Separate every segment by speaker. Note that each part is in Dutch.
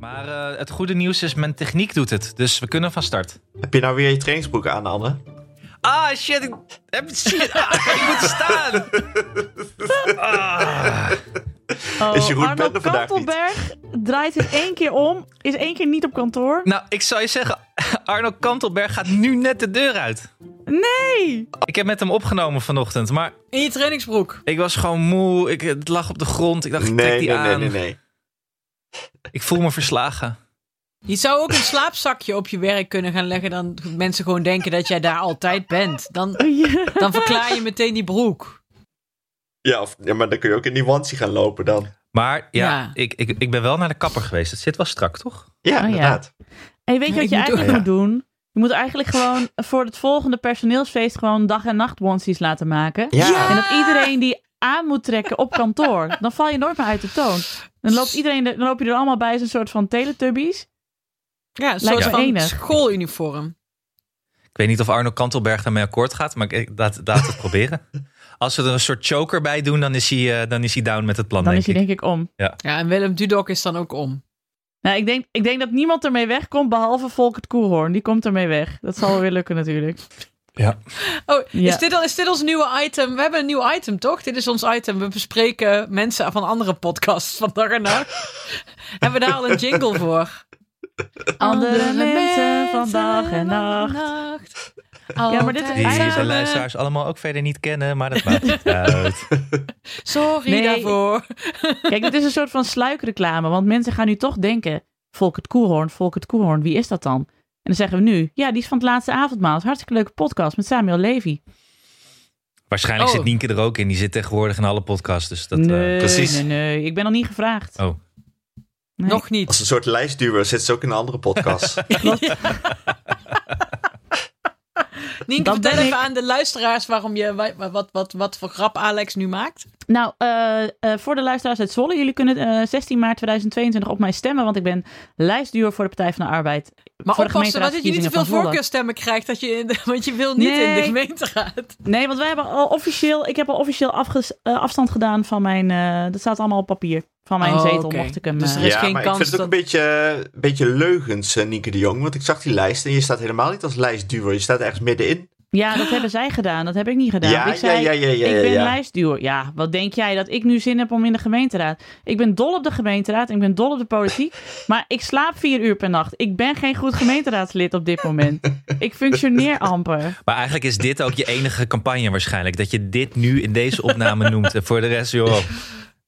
Speaker 1: Maar eh, het goede nieuws is, mijn techniek doet het. Dus we kunnen van start.
Speaker 2: Heb je nou weer je trainingsbroek aan, Anne?
Speaker 1: Ah, shit. Ik, heb, shit, ah, ik moet staan. Ah.
Speaker 3: Oh,
Speaker 2: Is Jeroen
Speaker 3: Arno
Speaker 2: Bende vandaag niet?
Speaker 3: Kantelberg draait in één keer om, is één keer niet op kantoor.
Speaker 1: Nou, ik zou je zeggen, Arno Kantelberg gaat nu net de deur uit.
Speaker 3: Nee!
Speaker 1: Ik heb met hem opgenomen vanochtend, maar
Speaker 4: In je trainingsbroek.
Speaker 1: ik was gewoon moe. Ik, het lag op de grond. Ik dacht, ik trek
Speaker 2: Nee,
Speaker 1: die
Speaker 2: nee,
Speaker 1: aan.
Speaker 2: nee, nee, nee.
Speaker 1: Ik voel me verslagen.
Speaker 4: Je zou ook een slaapzakje op je werk kunnen gaan leggen. Dan mensen gewoon denken dat jij daar altijd bent. Dan,
Speaker 3: Ja.
Speaker 4: dan verklaar je meteen die broek.
Speaker 2: Ja, of, ja, maar dan kun je ook in die wansie gaan lopen dan.
Speaker 1: Maar ja,
Speaker 4: Ja.
Speaker 1: Ik, ik, ik ben wel naar de kapper geweest. Het zit wel strak, toch?
Speaker 2: Ja,
Speaker 3: ja.
Speaker 2: inderdaad.
Speaker 3: En weet je wat
Speaker 4: Ik
Speaker 3: je
Speaker 4: moet
Speaker 3: eigenlijk
Speaker 2: ook-
Speaker 3: moet doen? Je moet eigenlijk gewoon voor het volgende personeelsfeest gewoon dag en nacht onesies laten maken.
Speaker 2: Ja.
Speaker 3: En dat iedereen die aan moet trekken op kantoor. Dan val je nooit meer uit de toon. Dan, loopt iedereen, er- dan loop je er allemaal bij als een soort van teletubbies.
Speaker 2: Oh,
Speaker 4: Ja, een soort
Speaker 3: Lijkt me
Speaker 4: van
Speaker 3: enig.
Speaker 4: schooluniform.
Speaker 1: Ik weet niet of Arno Kantelberg daarmee akkoord gaat, maar ik- laat, laat het proberen. Als ze er een soort choker bij doen, dan is hij, eh, dan is hij down met het plan,
Speaker 3: Dan
Speaker 1: denk
Speaker 3: is hij
Speaker 1: ik.
Speaker 3: denk ik om.
Speaker 4: Ja, en Willem Dudok is dan ook om.
Speaker 3: Nou, ik denk, ik denk dat niemand ermee wegkomt behalve Volkert Koelhoorn. Die komt ermee weg. Dat zal wel weer lukken natuurlijk.
Speaker 4: Oh,
Speaker 3: Ja.
Speaker 4: is, dit al, is dit ons nieuwe item? We hebben een nieuw item, toch? Dit is ons item. We bespreken mensen van andere podcasts van dag en nacht. hebben we daar al een jingle voor?
Speaker 3: Andere mensen van dag en nacht. Ja, maar dit is
Speaker 1: Die
Speaker 4: Altijd
Speaker 3: eigenlijk-
Speaker 1: zijn
Speaker 3: Samen.
Speaker 1: luisteraars allemaal ook verder niet kennen, maar dat maakt niet uit.
Speaker 4: Sorry
Speaker 3: Nee.
Speaker 4: daarvoor.
Speaker 3: Kijk, dit is een soort van sluikreclame. Want mensen gaan nu toch denken... Volkert Koelhoorn, Volkert Koelhoorn, wie is dat dan? En dan zeggen we nu... Ja, die is van het laatste avondmaal. Is een hartstikke leuke podcast met Samuel Levy.
Speaker 1: Waarschijnlijk
Speaker 4: Oh.
Speaker 1: zit Nienke er ook in. Die zit tegenwoordig in alle podcasts. Dus dat, eh,
Speaker 3: nee,
Speaker 2: precies.
Speaker 3: nee, nee. Ik ben nog niet gevraagd.
Speaker 1: Oh.
Speaker 3: Nee.
Speaker 4: Nog niet.
Speaker 2: Als een soort lijstduwer zit ze ook in een andere podcast.
Speaker 4: Nienke,
Speaker 3: Dan
Speaker 4: vertel
Speaker 3: ben
Speaker 4: even
Speaker 3: ik-
Speaker 4: aan de luisteraars waarom je, wa- wat, wat, wat, voor grap Alex nu maakt.
Speaker 3: Nou, eh, eh, voor de luisteraars uit Zwolle. Jullie kunnen eh, 16 maart 2022 op mij stemmen. Want ik ben lijstduur voor de Partij van de Arbeid.
Speaker 4: Maar
Speaker 3: voor de
Speaker 4: oppassen dat je niet te
Speaker 3: gemeenteraadsverkiezingen
Speaker 4: veel
Speaker 3: van Zwolle.
Speaker 4: voorkeurstemmen krijgt, dat je in de- want je wil niet in de
Speaker 3: Nee.
Speaker 4: gemeenteraad.
Speaker 3: Nee, want wij hebben al officieel, ik heb al officieel afges- eh, afstand gedaan van mijn, eh, dat staat allemaal op papier, van mijn
Speaker 4: Oh,
Speaker 3: zetel,
Speaker 4: oké.
Speaker 3: mocht ik hem.
Speaker 4: Dus
Speaker 3: eh,
Speaker 4: Er is
Speaker 2: ja,
Speaker 4: geen
Speaker 2: maar
Speaker 4: kans
Speaker 2: ik vind het ook
Speaker 4: dat-
Speaker 2: een beetje, een beetje leugens, eh, Nienke de Jong. Want ik zag die lijst en je staat helemaal niet als lijstduwer. Je staat ergens middenin.
Speaker 3: ja, dat hebben zij gedaan, dat heb ik niet gedaan.
Speaker 2: Ah. Ja,
Speaker 3: ik zei,
Speaker 2: ja, ja, ja, ja,
Speaker 3: ik ben
Speaker 2: ja.
Speaker 3: lijstduwer. Ja, wat denk jij dat ik nu zin heb om in de gemeenteraad? Ik ben dol op de gemeenteraad, ik ben dol op de politiek, maar ik slaap vier uur per nacht. Ik ben geen goed gemeenteraadslid op dit moment. Ik functioneer amper.
Speaker 1: Maar eigenlijk is dit ook je enige campagne waarschijnlijk. Dat je dit nu in deze opname noemt. En voor de rest, joh,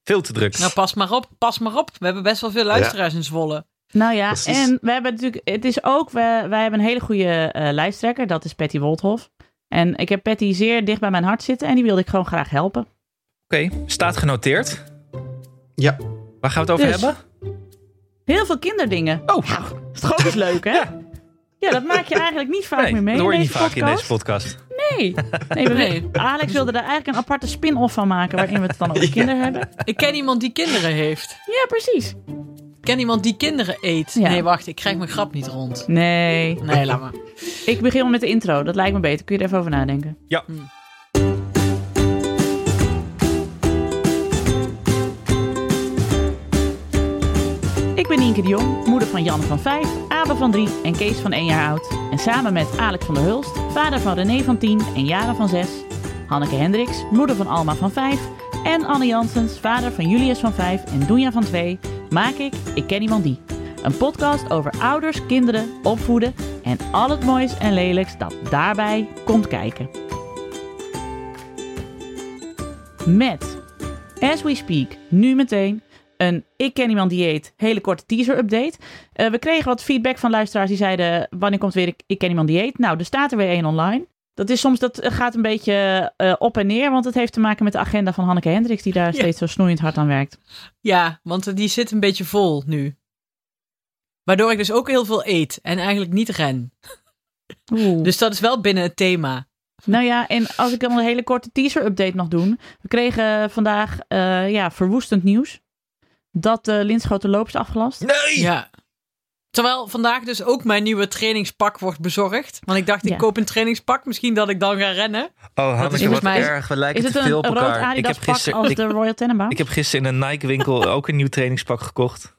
Speaker 1: veel te druk.
Speaker 4: Nou, pas maar op, pas maar op. We hebben best wel veel luisteraars in Zwolle.
Speaker 3: Nou ja,
Speaker 2: Precies.
Speaker 3: en we hebben natuurlijk, het is ook, we, wij hebben een hele goede eh, lijsttrekker, dat is Patty Woldhof. En ik heb Patty zeer dicht bij mijn hart zitten en die wilde ik gewoon graag helpen.
Speaker 1: Oké, staat genoteerd.
Speaker 2: Ja.
Speaker 1: Waar gaan we het over
Speaker 3: Dus. Nou,
Speaker 1: hebben?
Speaker 3: Heel veel kinderdingen.
Speaker 1: Oh,
Speaker 3: Dat is toch ook eens leuk, hè? Ja. dat maak je eigenlijk niet vaak
Speaker 1: nee,
Speaker 3: meer mee
Speaker 1: dat hoor je
Speaker 3: in
Speaker 1: niet
Speaker 3: deze
Speaker 1: vaak in deze
Speaker 3: podcast.
Speaker 1: podcast.
Speaker 3: Nee. Nee, we-
Speaker 4: Nee.
Speaker 3: Alex wilde daar eigenlijk een aparte spin-off van maken waarin we het dan over kinderen hebben.
Speaker 4: Ik ken iemand die kinderen heeft.
Speaker 3: Ja, precies.
Speaker 4: Ik ken iemand die kinderen eet.
Speaker 3: Ja.
Speaker 4: Nee, wacht, ik krijg mijn grap niet rond.
Speaker 3: Nee.
Speaker 4: Nee, laat maar.
Speaker 3: Ik begin met de intro. Dat lijkt me beter. Kun je er even over nadenken?
Speaker 1: Ja.
Speaker 3: Ik ben Nienke de Jong, moeder van Jan van 5, Abe van 3 en Kees van 1 jaar oud. En samen met Alex van der Hulst, vader van René van 10 en Jaren van 6. Hanneke Hendricks, moeder van Alma van 5. En Anne Jansens, vader van Julius van 5 en Doenja van 2. Maak ik Ik Ken Iemand Die. Een podcast over ouders, kinderen, opvoeden en al het moois en lelijks dat daarbij komt kijken. Met As we speak, nu meteen. Een Ik ken iemand die eet, hele korte teaser-update. Eh, we kregen wat feedback van luisteraars die zeiden... wanneer komt weer Ik, ik ken iemand die eet? Nou, er staat er weer één online. Dat is soms, dat eh, gaat een beetje eh, op en neer... want het heeft te maken met de agenda van Hanneke Hendricks... die daar steeds zo snoeiend hard aan werkt.
Speaker 4: Ja, want die zit een beetje vol nu. Waardoor ik dus ook heel veel eet en eigenlijk niet ren.
Speaker 3: Oeh.
Speaker 4: Dus dat is wel binnen het thema.
Speaker 3: Nou ja, en als ik dan een hele korte teaser-update nog doen. We kregen vandaag eh, ja, verwoestend nieuws. Dat eh, de Linschoten loop is afgelast.
Speaker 1: Nee!
Speaker 4: Ja. Terwijl vandaag dus ook mijn nieuwe trainingspak wordt bezorgd. Want ik dacht, ik
Speaker 3: Ja.
Speaker 4: koop een trainingspak. Misschien dat ik dan ga rennen.
Speaker 1: Oh,
Speaker 4: Dat is
Speaker 1: Hanneke,
Speaker 4: volgens
Speaker 1: wat
Speaker 4: mij-
Speaker 1: erg. We lijken
Speaker 3: Is het
Speaker 1: te
Speaker 3: een,
Speaker 1: veel
Speaker 3: een
Speaker 1: op
Speaker 3: rood
Speaker 1: elkaar. Ik
Speaker 3: Adidas
Speaker 1: heb
Speaker 3: pak als
Speaker 1: gisteren ik,
Speaker 3: de Royal Tenenbaum?
Speaker 1: ik heb gisteren in een Nike-winkel ook een nieuw trainingspak gekocht.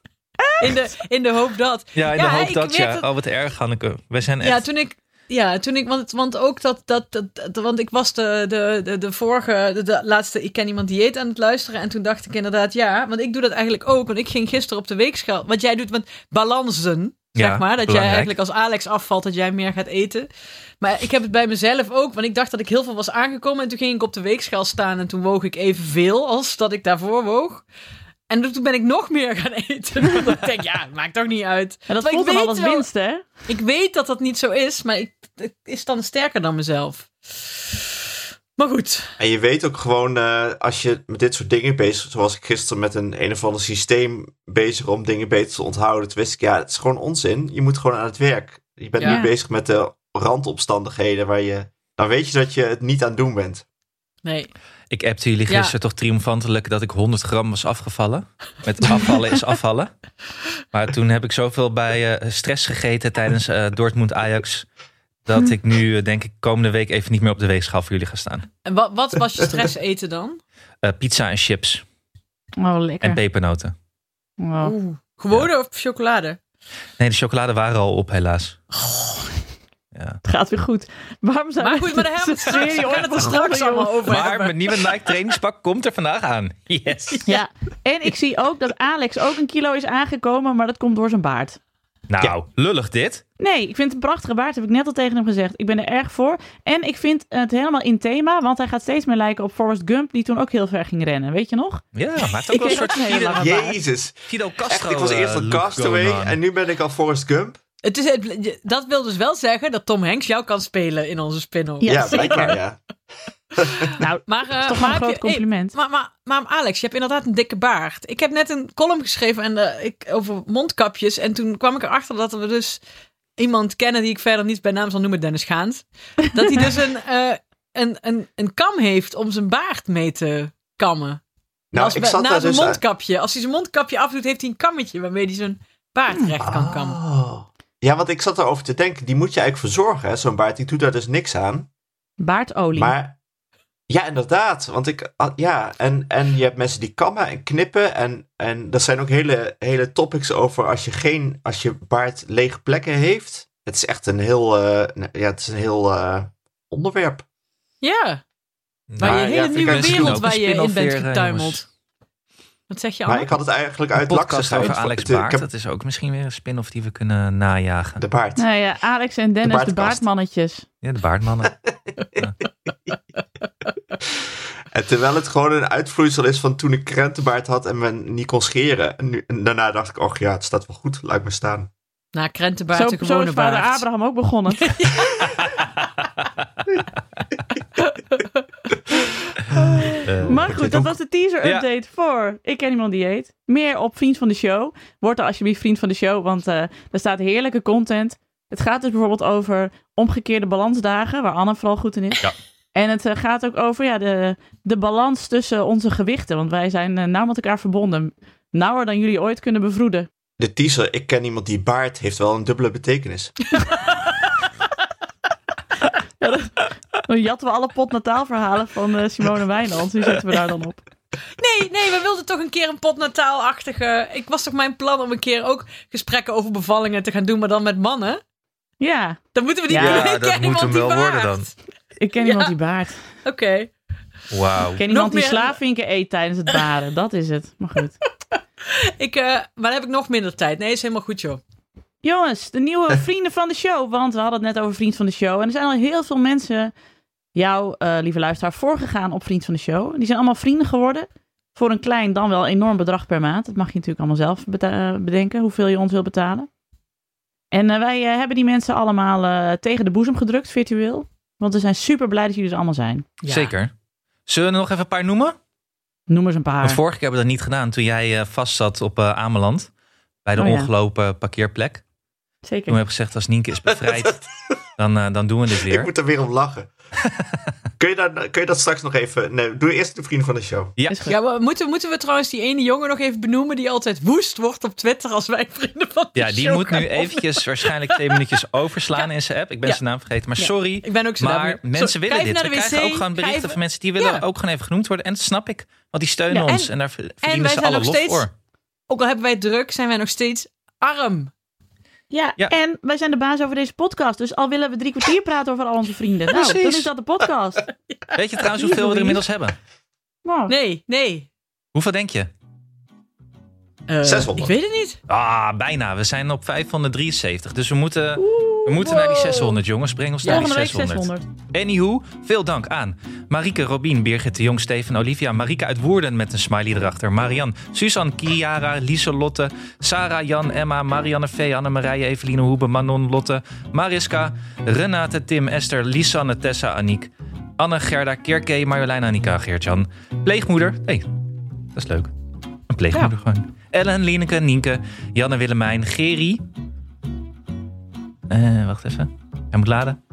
Speaker 4: In de, in de hoop dat.
Speaker 1: Ja, in de hoop
Speaker 4: ik
Speaker 1: dat,
Speaker 4: weet
Speaker 1: ja. Oh, wat erg, Hanneke. We zijn echt...
Speaker 4: Ja, toen ik. Ja, toen ik, want, want ook dat, dat, dat, dat- want ik was de, de, de, de vorige, de, de laatste Ik Ken Iemand Dieet aan het luisteren. En toen dacht ik inderdaad, ja, want ik doe dat eigenlijk ook. Want ik ging gisteren op de weegschaal, wat jij doet, want balansen,
Speaker 1: Ja,
Speaker 4: zeg maar. Dat jij
Speaker 1: belangrijk.
Speaker 4: eigenlijk als Alex afvalt, dat jij meer gaat eten. Maar ik heb het bij mezelf ook, want ik dacht dat ik heel veel was aangekomen. En toen ging ik op de weegschaal staan en toen woog ik evenveel als dat ik daarvoor woog. En toen ben ik nog meer gaan eten. Want ik denk, ja, maakt toch niet uit.
Speaker 3: En dat
Speaker 4: Maar ik
Speaker 3: voelt dan al
Speaker 4: weet
Speaker 3: als
Speaker 4: wel-
Speaker 3: winst, hè?
Speaker 4: ik weet dat dat niet zo is, maar ik, het is dan sterker dan mezelf. Maar goed.
Speaker 2: En je weet ook gewoon, eh, als je met dit soort dingen bezig zoals ik gisteren met een een of ander systeem bezig om dingen beter te onthouden, toen wist ik, ja, het is gewoon onzin. Je moet gewoon aan het werk. Je bent
Speaker 4: Ja.
Speaker 2: nu bezig met de randomstandigheden waar je, dan weet je dat je het niet aan het doen bent.
Speaker 4: Nee.
Speaker 1: Ik appte jullie
Speaker 4: Ja.
Speaker 1: gisteren toch triomfantelijk dat ik 100 gram was afgevallen. Met afvallen is afvallen. Maar toen heb ik zoveel bij eh, stress gegeten tijdens eh, Dortmund-Ajax... dat ik nu, eh, denk ik, komende week even niet meer op de weegschaal voor jullie ga staan.
Speaker 4: En wat, wat was je stress eten dan?
Speaker 1: Eh, pizza en chips
Speaker 3: Oh,
Speaker 1: en
Speaker 3: lekker.
Speaker 1: pepernoten.
Speaker 3: Oh.
Speaker 4: Oeh. Gewone of chocolade?
Speaker 1: Nee, de chocolade waren al op, helaas.
Speaker 4: Oh.
Speaker 3: Het gaat weer goed. Waarom zijn
Speaker 4: Maar
Speaker 3: we
Speaker 4: goed, maar daar hebben we het straks, we
Speaker 3: serie
Speaker 4: gaan het er straks
Speaker 3: onbegonnen,
Speaker 4: allemaal
Speaker 3: joh?
Speaker 4: over
Speaker 1: Maar
Speaker 4: hebben.
Speaker 1: mijn nieuwe Nike trainingspak komt er vandaag aan. Yes.
Speaker 3: Ja, en ik zie ook dat Alex ook een kilo is aangekomen, maar dat komt door zijn baard.
Speaker 1: Nou,
Speaker 2: Ja.
Speaker 1: lullig dit.
Speaker 3: Nee, ik vind het een prachtige baard, heb ik net al tegen hem gezegd. Ik ben er erg voor. En ik vind het helemaal in thema, want hij gaat steeds meer lijken op Forrest Gump, die toen ook heel ver ging rennen. Weet je nog?
Speaker 1: Ja, maakt ook wel een
Speaker 3: weet
Speaker 1: soort
Speaker 3: ook niet
Speaker 1: Fidel,
Speaker 3: helemaal. Waar?
Speaker 2: Jezus.
Speaker 1: Fidel
Speaker 2: Echt,
Speaker 1: Castro
Speaker 2: ik was eerst
Speaker 1: eh,
Speaker 2: een
Speaker 1: look going
Speaker 2: castaway
Speaker 1: on.
Speaker 2: en nu ben ik al Forrest Gump.
Speaker 4: Het is, het- dat wil dus wel zeggen dat Tom Hanks jou kan spelen in onze spin-off.
Speaker 3: Ja,
Speaker 2: Ja,
Speaker 3: zeker.
Speaker 2: blijkbaar, ja.
Speaker 3: Nou,
Speaker 4: Maar, eh,
Speaker 3: dat is toch
Speaker 4: maar
Speaker 3: wel een
Speaker 4: heb
Speaker 3: groot
Speaker 4: je- hey,
Speaker 3: compliment.
Speaker 4: Maar, maar, maar Alex, je hebt inderdaad een dikke baard. Ik heb net een column geschreven en, eh, ik, over mondkapjes. En toen kwam ik erachter dat we dus iemand kennen die ik verder niet bij naam zal noemen, Dennis Gaans. Dat hij dus een, eh, een, een, een kam heeft om zijn baard mee te kammen.
Speaker 2: Nou,
Speaker 4: als
Speaker 2: ik
Speaker 4: bij-
Speaker 2: zat
Speaker 4: na
Speaker 2: daar
Speaker 4: zijn
Speaker 2: dus aan-
Speaker 4: mondkapje. Als hij zijn mondkapje afdoet, heeft hij een kammetje waarmee hij zijn baard
Speaker 2: Hmm.
Speaker 4: recht kan kammen.
Speaker 2: Oh. Ja, want ik zat erover te denken, die moet je eigenlijk verzorgen, hè, zo'n baard. Ik doe daar dus niks aan.
Speaker 3: Baardolie.
Speaker 2: Maar ja, inderdaad. Want ik, ah, ja, en, en je hebt mensen die kammen en knippen. En, en er zijn ook hele, hele topics over als je geen, als je baard lege plekken heeft. Het is echt een heel, eh, nou, ja, het is een heel eh, onderwerp.
Speaker 4: Ja, maar
Speaker 2: Nou,
Speaker 4: je
Speaker 2: ja,
Speaker 4: hele
Speaker 2: vind ik
Speaker 4: nieuwe
Speaker 2: misschien
Speaker 4: wereld
Speaker 2: ook
Speaker 4: waar je in bent
Speaker 1: getuimeld.
Speaker 4: getuimeld. Wat zeg je
Speaker 2: eh, maar
Speaker 4: allemaal?
Speaker 2: ik had het eigenlijk
Speaker 1: Een
Speaker 2: uit
Speaker 1: podcast
Speaker 2: laksigheid.
Speaker 1: over Alex
Speaker 2: Het, eh, ik
Speaker 1: Baart.
Speaker 2: heb-
Speaker 1: Dat is ook misschien weer een spin-off die we kunnen najagen.
Speaker 2: de baard.
Speaker 3: Nou ja, Alex en Dennis, de,
Speaker 2: baardkast.
Speaker 3: baardmannetjes.
Speaker 1: Ja, de baardmannen.
Speaker 2: En terwijl het gewoon een uitvloeisel is van toen ik krentenbaard had en me niet kon scheren. En, nu, en daarna dacht ik, och ja, het staat wel goed. Laat me staan.
Speaker 4: Na krentenbaard,
Speaker 3: Zo,
Speaker 4: een
Speaker 3: zo is
Speaker 4: gewone
Speaker 3: vader
Speaker 4: baard.
Speaker 3: Abraham ook begonnen.
Speaker 1: Eh,
Speaker 3: Maar goed, dat was de teaser
Speaker 1: Ja.
Speaker 3: update voor Ik Ken Iemand Die Eet. Meer op Vriend van de Show. Word dan alsjeblieft Vriend van de Show, want eh er staat heerlijke content. Het gaat dus bijvoorbeeld over omgekeerde balansdagen, waar Anne vooral goed in is.
Speaker 1: Ja.
Speaker 3: En het eh, gaat ook over ja, de, de balans tussen onze gewichten, want wij zijn eh, nauw met elkaar verbonden. Nauwer dan jullie ooit kunnen bevroeden.
Speaker 2: De teaser, ik ken iemand die baard, heeft wel een dubbele betekenis.
Speaker 3: Dan jatten we alle potnataalverhalen van eh, Simone Wijnands. Nu zetten we daar dan op.
Speaker 4: Nee, nee, we wilden toch een keer een potnataalachtige. Ik was toch mijn plan om een keer ook gesprekken over bevallingen te gaan doen, maar dan met mannen.
Speaker 3: Ja,
Speaker 4: Dan moeten we die
Speaker 3: Ja,
Speaker 4: Ik
Speaker 1: dat
Speaker 4: ken
Speaker 1: moet
Speaker 4: iemand
Speaker 1: hem
Speaker 4: die
Speaker 1: wel worden
Speaker 4: baart.
Speaker 1: dan.
Speaker 3: ik ken
Speaker 4: Ja.
Speaker 3: iemand die baart.
Speaker 4: Oké.
Speaker 1: Wauw.
Speaker 3: Ik ken iemand die
Speaker 4: meer-
Speaker 3: slaafvinken eet tijdens het baren. Dat is het. Maar goed.
Speaker 4: Ik, eh, maar dan heb ik nog minder tijd. Nee, is helemaal goed, joh.
Speaker 3: Jongens, de nieuwe vrienden van de show. Want we hadden het net over vriend van de show. En er zijn al heel veel mensen, jou, eh, lieve luisteraar, voorgegaan op vriend van de show. Die zijn allemaal vrienden geworden. Voor een klein, dan wel enorm bedrag per maand. Dat mag je natuurlijk allemaal zelf beta- eh, bedenken, hoeveel je ons wil betalen. En eh, wij eh, hebben die mensen allemaal eh, tegen de boezem gedrukt, virtueel. Want we zijn super blij dat jullie er allemaal zijn.
Speaker 4: Ja.
Speaker 1: Zeker. Zullen we er nog even een paar noemen?
Speaker 3: Noem eens een paar.
Speaker 1: Want vorige keer hebben we dat niet gedaan toen jij eh, vast zat op eh, Ameland. Bij de
Speaker 3: Oh ja.
Speaker 1: ongelopen parkeerplek. Toen
Speaker 3: Zeker.
Speaker 1: heb ik gezegd, als Nienke is bevrijd, dan, eh, dan doen we dit
Speaker 2: Ik
Speaker 1: weer.
Speaker 2: moet er weer om lachen. kun, je daar, kun je dat straks nog even... Nee, doe eerst de vrienden van de show.
Speaker 1: Ja,
Speaker 3: Is goed.
Speaker 4: Ja, maar moeten, moeten we trouwens die ene jongen nog even benoemen die altijd woest wordt op Twitter als wij vrienden van de
Speaker 1: ja die
Speaker 4: show
Speaker 1: moet
Speaker 4: gaan
Speaker 1: nu
Speaker 4: opnemen?
Speaker 1: eventjes waarschijnlijk twee minuutjes overslaan in zijn app. Ik ben
Speaker 4: Ja.
Speaker 1: zijn naam vergeten, maar
Speaker 4: Ja.
Speaker 1: sorry.
Speaker 4: Ik ben ook zo
Speaker 1: Maar
Speaker 4: daarmee-
Speaker 1: mensen
Speaker 4: Zo,
Speaker 1: willen
Speaker 4: ga
Speaker 1: dit.
Speaker 4: even
Speaker 1: We
Speaker 4: naar de
Speaker 1: krijgen
Speaker 4: wc,
Speaker 1: ook gewoon
Speaker 4: ga
Speaker 1: berichten
Speaker 4: even-
Speaker 1: van mensen die willen
Speaker 4: Ja.
Speaker 1: ook gewoon even genoemd worden. En dat snap ik, want die steunen
Speaker 3: Ja,
Speaker 1: ons
Speaker 4: en-
Speaker 1: en daar ver-
Speaker 4: en wij
Speaker 1: verdienen ze
Speaker 4: zijn
Speaker 1: alle
Speaker 4: nog
Speaker 1: lof
Speaker 4: steeds-
Speaker 1: voor.
Speaker 4: ook al hebben wij het druk, zijn wij nog steeds arm.
Speaker 3: Ja,
Speaker 1: Ja.
Speaker 3: en wij zijn de baas over deze podcast. Dus al willen we drie kwartier praten over al onze vrienden. Nou,
Speaker 1: Precies.
Speaker 3: dan is dat de podcast.
Speaker 1: Weet je trouwens hoeveel we er inmiddels hebben?
Speaker 3: Wow.
Speaker 4: Nee, nee.
Speaker 1: Hoeveel denk je?
Speaker 4: Eh,
Speaker 2: 600.
Speaker 4: Ik weet het niet.
Speaker 1: Ah, bijna. We zijn op 573. Dus we moeten, we moeten naar die 600, jongens. Breng ons naar die
Speaker 3: Volgende week
Speaker 1: 600.
Speaker 3: 600.
Speaker 1: Anywho, veel dank aan Marieke, Robien, Birgit de Jong, Steven, Olivia, Marieke uit Woerden met een smiley erachter, Marian, Suzanne, Kiara, Lieselotte, Sarah, Jan, Emma, Marianne V, Annemarije, Eveline Hoebe, Manon, Lotte, Mariska, Renate, Tim, Esther, Lisanne, Tessa, Aniek, Anne, Gerda, Kierke, Marjolein, Annika, Geert-Jan, pleegmoeder, hey, dat is leuk, een pleegmoeder gewoon, Ellen, Lineke, Nienke, Janne, Willemijn, Geri, Eh, wacht even, hij moet laden.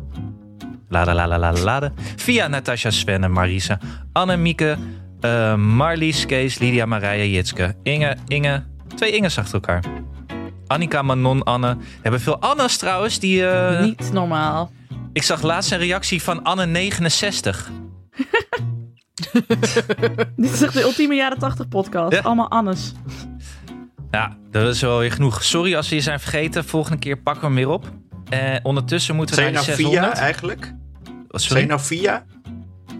Speaker 1: Lada, lada, lada, lada. Via Natasha, Sven en Marisa. Annemieke, eh Marlies, Kees, Lydia, Marije, Jitske. Inge, Inge. Twee Inges achter elkaar. Annika, Manon, Anne. We hebben veel Annes trouwens. Die, eh,
Speaker 3: Niet normaal.
Speaker 1: Ik zag laatst een reactie van Anne69.
Speaker 3: Dit is echt de ultieme jaren 80 podcast.
Speaker 1: Ja.
Speaker 3: Allemaal Annes.
Speaker 1: Ja, dat is wel weer genoeg. Sorry als we je zijn vergeten. Volgende keer pakken we hem weer op. Eh, ondertussen moeten we
Speaker 2: Zijn je
Speaker 1: naar
Speaker 2: nou
Speaker 1: de
Speaker 2: via
Speaker 1: 600.
Speaker 2: eigenlijk?
Speaker 1: Wat,
Speaker 2: Zijn je
Speaker 1: Sorry?
Speaker 2: nou via?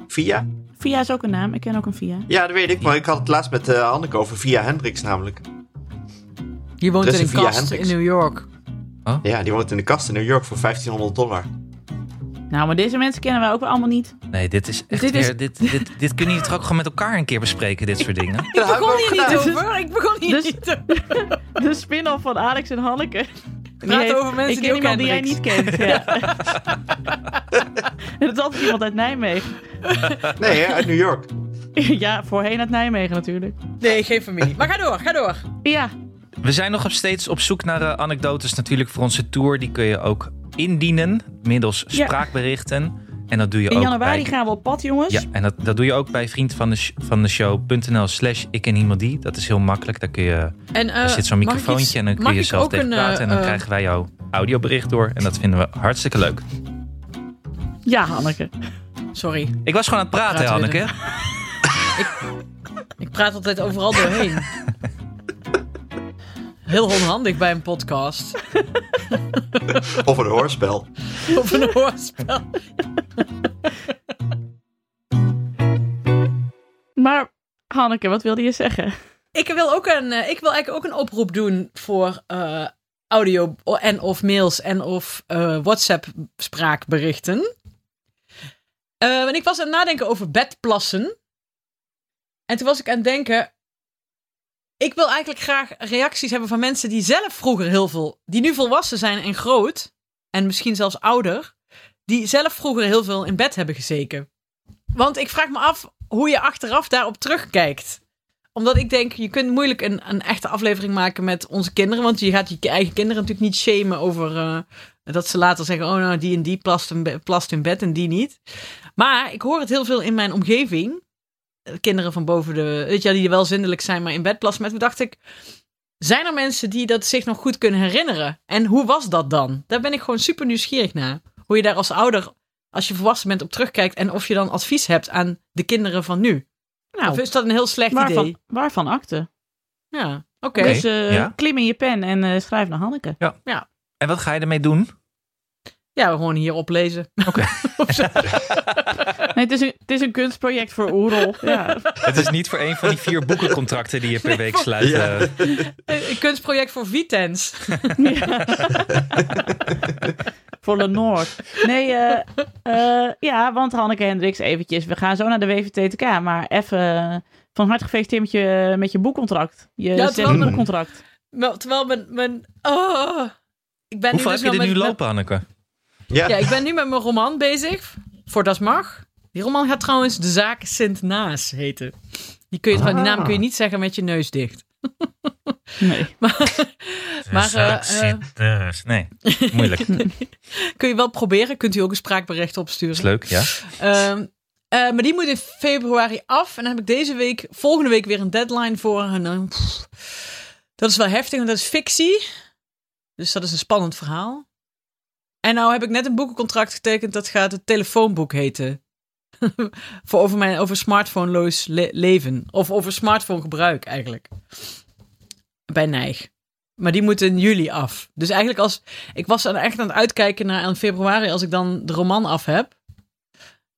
Speaker 2: Via?
Speaker 3: Via is ook een naam. Ik ken ook een Via.
Speaker 2: Ja, dat weet ik. Maar ik had het laatst met eh Hanneke over via Hendricks namelijk.
Speaker 4: Je woont
Speaker 2: Er is
Speaker 4: in een
Speaker 2: een Via
Speaker 4: kast
Speaker 2: Hendricks.
Speaker 4: in New York.
Speaker 2: Ja, die woont in de kast in New York voor 1500 dollar.
Speaker 3: Nou, maar deze mensen kennen wij ook weer allemaal niet.
Speaker 1: Nee, dit is echt
Speaker 3: Dit is-
Speaker 1: weer... Dit, dit, dit kunnen jullie toch ook gewoon met elkaar een keer bespreken, dit soort dingen?
Speaker 2: Ja, dat
Speaker 4: Ik
Speaker 2: hebben
Speaker 4: begon
Speaker 2: we ook
Speaker 4: hier
Speaker 2: gedaan.
Speaker 4: niet over. Ik begon hier
Speaker 3: Dus-
Speaker 4: niet over.
Speaker 3: De spin-off van Alex en Hanneke. Die
Speaker 4: Praat
Speaker 3: heet
Speaker 4: over mensen
Speaker 3: ik
Speaker 4: die
Speaker 3: ken
Speaker 4: ook
Speaker 3: iemand die jij
Speaker 4: Hendricks.
Speaker 3: niet kent. Ja. en dat is altijd iemand uit Nijmegen.
Speaker 2: Nee, hè, uit New York.
Speaker 3: ja, voorheen uit Nijmegen natuurlijk.
Speaker 4: Nee, geen familie. Maar ga door, ga door.
Speaker 3: Ja,
Speaker 1: We zijn nog steeds op zoek naar eh, anekdotes natuurlijk voor onze tour. Die kun je ook indienen middels
Speaker 3: Ja.
Speaker 1: spraakberichten. En dat doe je
Speaker 3: in
Speaker 1: ook
Speaker 3: januari
Speaker 1: bij...
Speaker 3: gaan we dus. op pad, jongens.
Speaker 1: Ja, en dat, dat doe je ook bij vriend van de, sh- van de show.nl slash ik en iemand die. Dat is heel makkelijk. Daar kun je,
Speaker 4: En, eh,
Speaker 1: er zit zo'n
Speaker 4: mag ik
Speaker 1: microfoontje
Speaker 4: iets-
Speaker 1: en dan kun
Speaker 4: mag
Speaker 1: je
Speaker 4: ik
Speaker 1: zelf
Speaker 4: ook
Speaker 1: tegen
Speaker 4: een, eh,
Speaker 1: praten. En dan
Speaker 4: eh,
Speaker 1: krijgen wij jouw audiobericht door. En dat vinden we hartstikke leuk.
Speaker 3: Ja, Hanneke.
Speaker 4: Sorry,
Speaker 1: Ik was gewoon aan het praten,
Speaker 4: Praten we
Speaker 1: Hanneke.
Speaker 4: ik praat altijd overal doorheen. Heel onhandig bij een podcast.
Speaker 2: Of een hoorspel.
Speaker 4: Of een hoorspel.
Speaker 3: Maar Hanneke, wat wilde je zeggen?
Speaker 4: Nou, Ik wil, ook een, eh, ik wil eigenlijk ook een oproep doen voor eh, audio en of mails en of eh, WhatsApp spraakberichten. Eh, en ik was aan het nadenken over bedplassen. En toen was ik aan het denken. Ik wil eigenlijk graag reacties hebben van mensen die zelf vroeger heel veel. die nu volwassen zijn en groot. en misschien zelfs ouder. die zelf vroeger heel veel in bed hebben gezeken. Want ik vraag me af hoe je achteraf daarop terugkijkt omdat ik denk, je kunt moeilijk een, een echte aflevering maken met onze kinderen. Want je gaat je eigen kinderen natuurlijk niet shamen over eh, dat ze later zeggen: oh, nou, die en die plast in, be- plast in bed en die niet. Maar ik hoor het heel veel in mijn omgeving. Eh, Kinderen van boven de. Weet je, wel, die wel zindelijk zijn, maar in bed plassen. Maar toen dacht ik: zijn er mensen die dat zich nog goed kunnen herinneren? En hoe was dat dan? Daar ben ik gewoon super nieuwsgierig naar. Hoe je daar als ouder, als je volwassen bent, op terugkijkt. En of je dan advies hebt aan de kinderen van nu.
Speaker 3: Nou,
Speaker 4: of is dat een heel slecht idee?
Speaker 3: waarvan, waarvan akte?
Speaker 4: Ja, oké.
Speaker 1: Oké.
Speaker 3: Dus eh,
Speaker 1: ja.
Speaker 3: klim in je pen en eh, schrijf naar Hanneke.
Speaker 1: En wat ga je ermee doen?
Speaker 4: Ja, we gewoon hier oplezen.
Speaker 3: Nee, het is een, het is een kunstproject voor Oerol. ja.
Speaker 1: Het is niet voor een van die vier boekencontracten die je per week sluit.
Speaker 2: Ja.
Speaker 1: eh.
Speaker 4: Een een kunstproject voor Vitens.
Speaker 3: Ja. Voor Lenore. Nee, eh, eh, ja, want Hanneke Hendricks, eventjes. We gaan zo naar de WVTTK, maar even eh, van harte gefeliciteerd met je, met je boekcontract. Je
Speaker 4: Ja,
Speaker 3: zesde
Speaker 4: terwijl-
Speaker 3: boekcontract.
Speaker 4: Wel- Terwijl mijn... mijn oh, ik ben
Speaker 1: Hoeveel
Speaker 4: nu dus
Speaker 1: heb je
Speaker 4: wel
Speaker 1: er nu
Speaker 4: met- met-
Speaker 1: lopen, Hanneke?
Speaker 2: Ja.
Speaker 4: Ja, ik ben nu met mijn roman bezig. Voor Das Mag. Die roman gaat trouwens De Zaak Sint Naas heten. Die, kun je, trouwens- die
Speaker 1: Ah.
Speaker 4: naam kun je niet zeggen met je neus dicht.
Speaker 3: Nee.
Speaker 4: Maar, eh, eh,
Speaker 1: nee, moeilijk. Dat
Speaker 4: kun je wel proberen. Kunt u ook een spraakbericht opsturen.
Speaker 1: is leuk, ja.
Speaker 4: Ehm, eh, maar die moet in februari af. En dan heb ik deze week, volgende week weer een deadline voor. En dan, pff, dat is wel heftig, want dat is fictie. Dus dat is een spannend verhaal. En nou heb ik net een boekencontract getekend. Dat gaat het telefoonboek heten. voor over, mijn, over smartphoneloos le- leven. Of over smartphone gebruik eigenlijk. bij Nijg. Maar die moeten in juli af. Dus eigenlijk als... Ik was aan, echt aan het uitkijken naar aan februari als ik dan de roman af heb.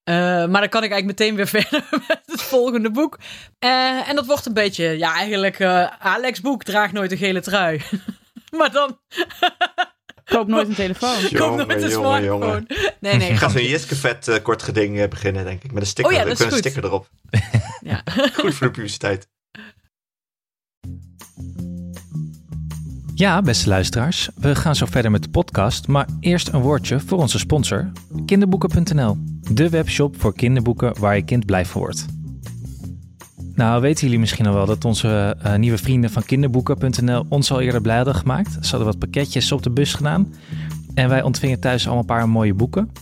Speaker 4: Eh, maar dan kan ik eigenlijk meteen weer verder met het volgende boek. Eh, en dat wordt een beetje... Ja, eigenlijk eh, Alex Boek draagt nooit een gele trui. maar dan
Speaker 3: Koop nooit een telefoon.
Speaker 4: komt er met een
Speaker 2: jongen,
Speaker 4: smartphone. Nee, nee.
Speaker 2: Ik ga
Speaker 4: grapje.
Speaker 2: zo'n Jiskevet eh, kort geding eh, beginnen, denk ik. Met een sticker.
Speaker 4: Oh ja,
Speaker 2: ik
Speaker 4: dat
Speaker 2: wil
Speaker 4: is
Speaker 2: een
Speaker 4: goed.
Speaker 2: sticker erop.
Speaker 4: Ja.
Speaker 2: Goed voor de publiciteit.
Speaker 1: Ja, beste luisteraars, we gaan zo verder met de podcast, maar eerst een woordje voor onze sponsor, kinderboeken.nl. De webshop voor kinderboeken waar je kind blij van wordt. Nou, weten jullie misschien al wel dat onze eh, nieuwe vrienden van kinderboeken.nl ons al eerder blij hadden gemaakt. Ze hadden wat pakketjes op de bus gedaan en wij ontvingen thuis allemaal een paar mooie boeken.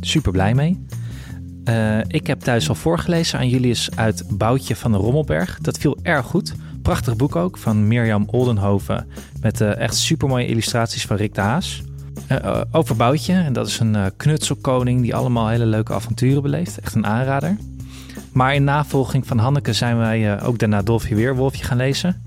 Speaker 1: Super blij mee. Eh, ik heb thuis al voorgelezen aan Julius uit Boutje van de Rommelberg. Dat viel erg goed. Prachtig boek ook van Mirjam Oldenhoven. Met eh, echt supermooie illustraties van Rick de Haas. Eh, eh, over Boutje, en dat is een eh, knutselkoning die allemaal hele leuke avonturen beleeft. Echt een aanrader. Maar in navolging van Hanneke zijn wij eh, ook daarna Dolfje Weerwolfje gaan lezen.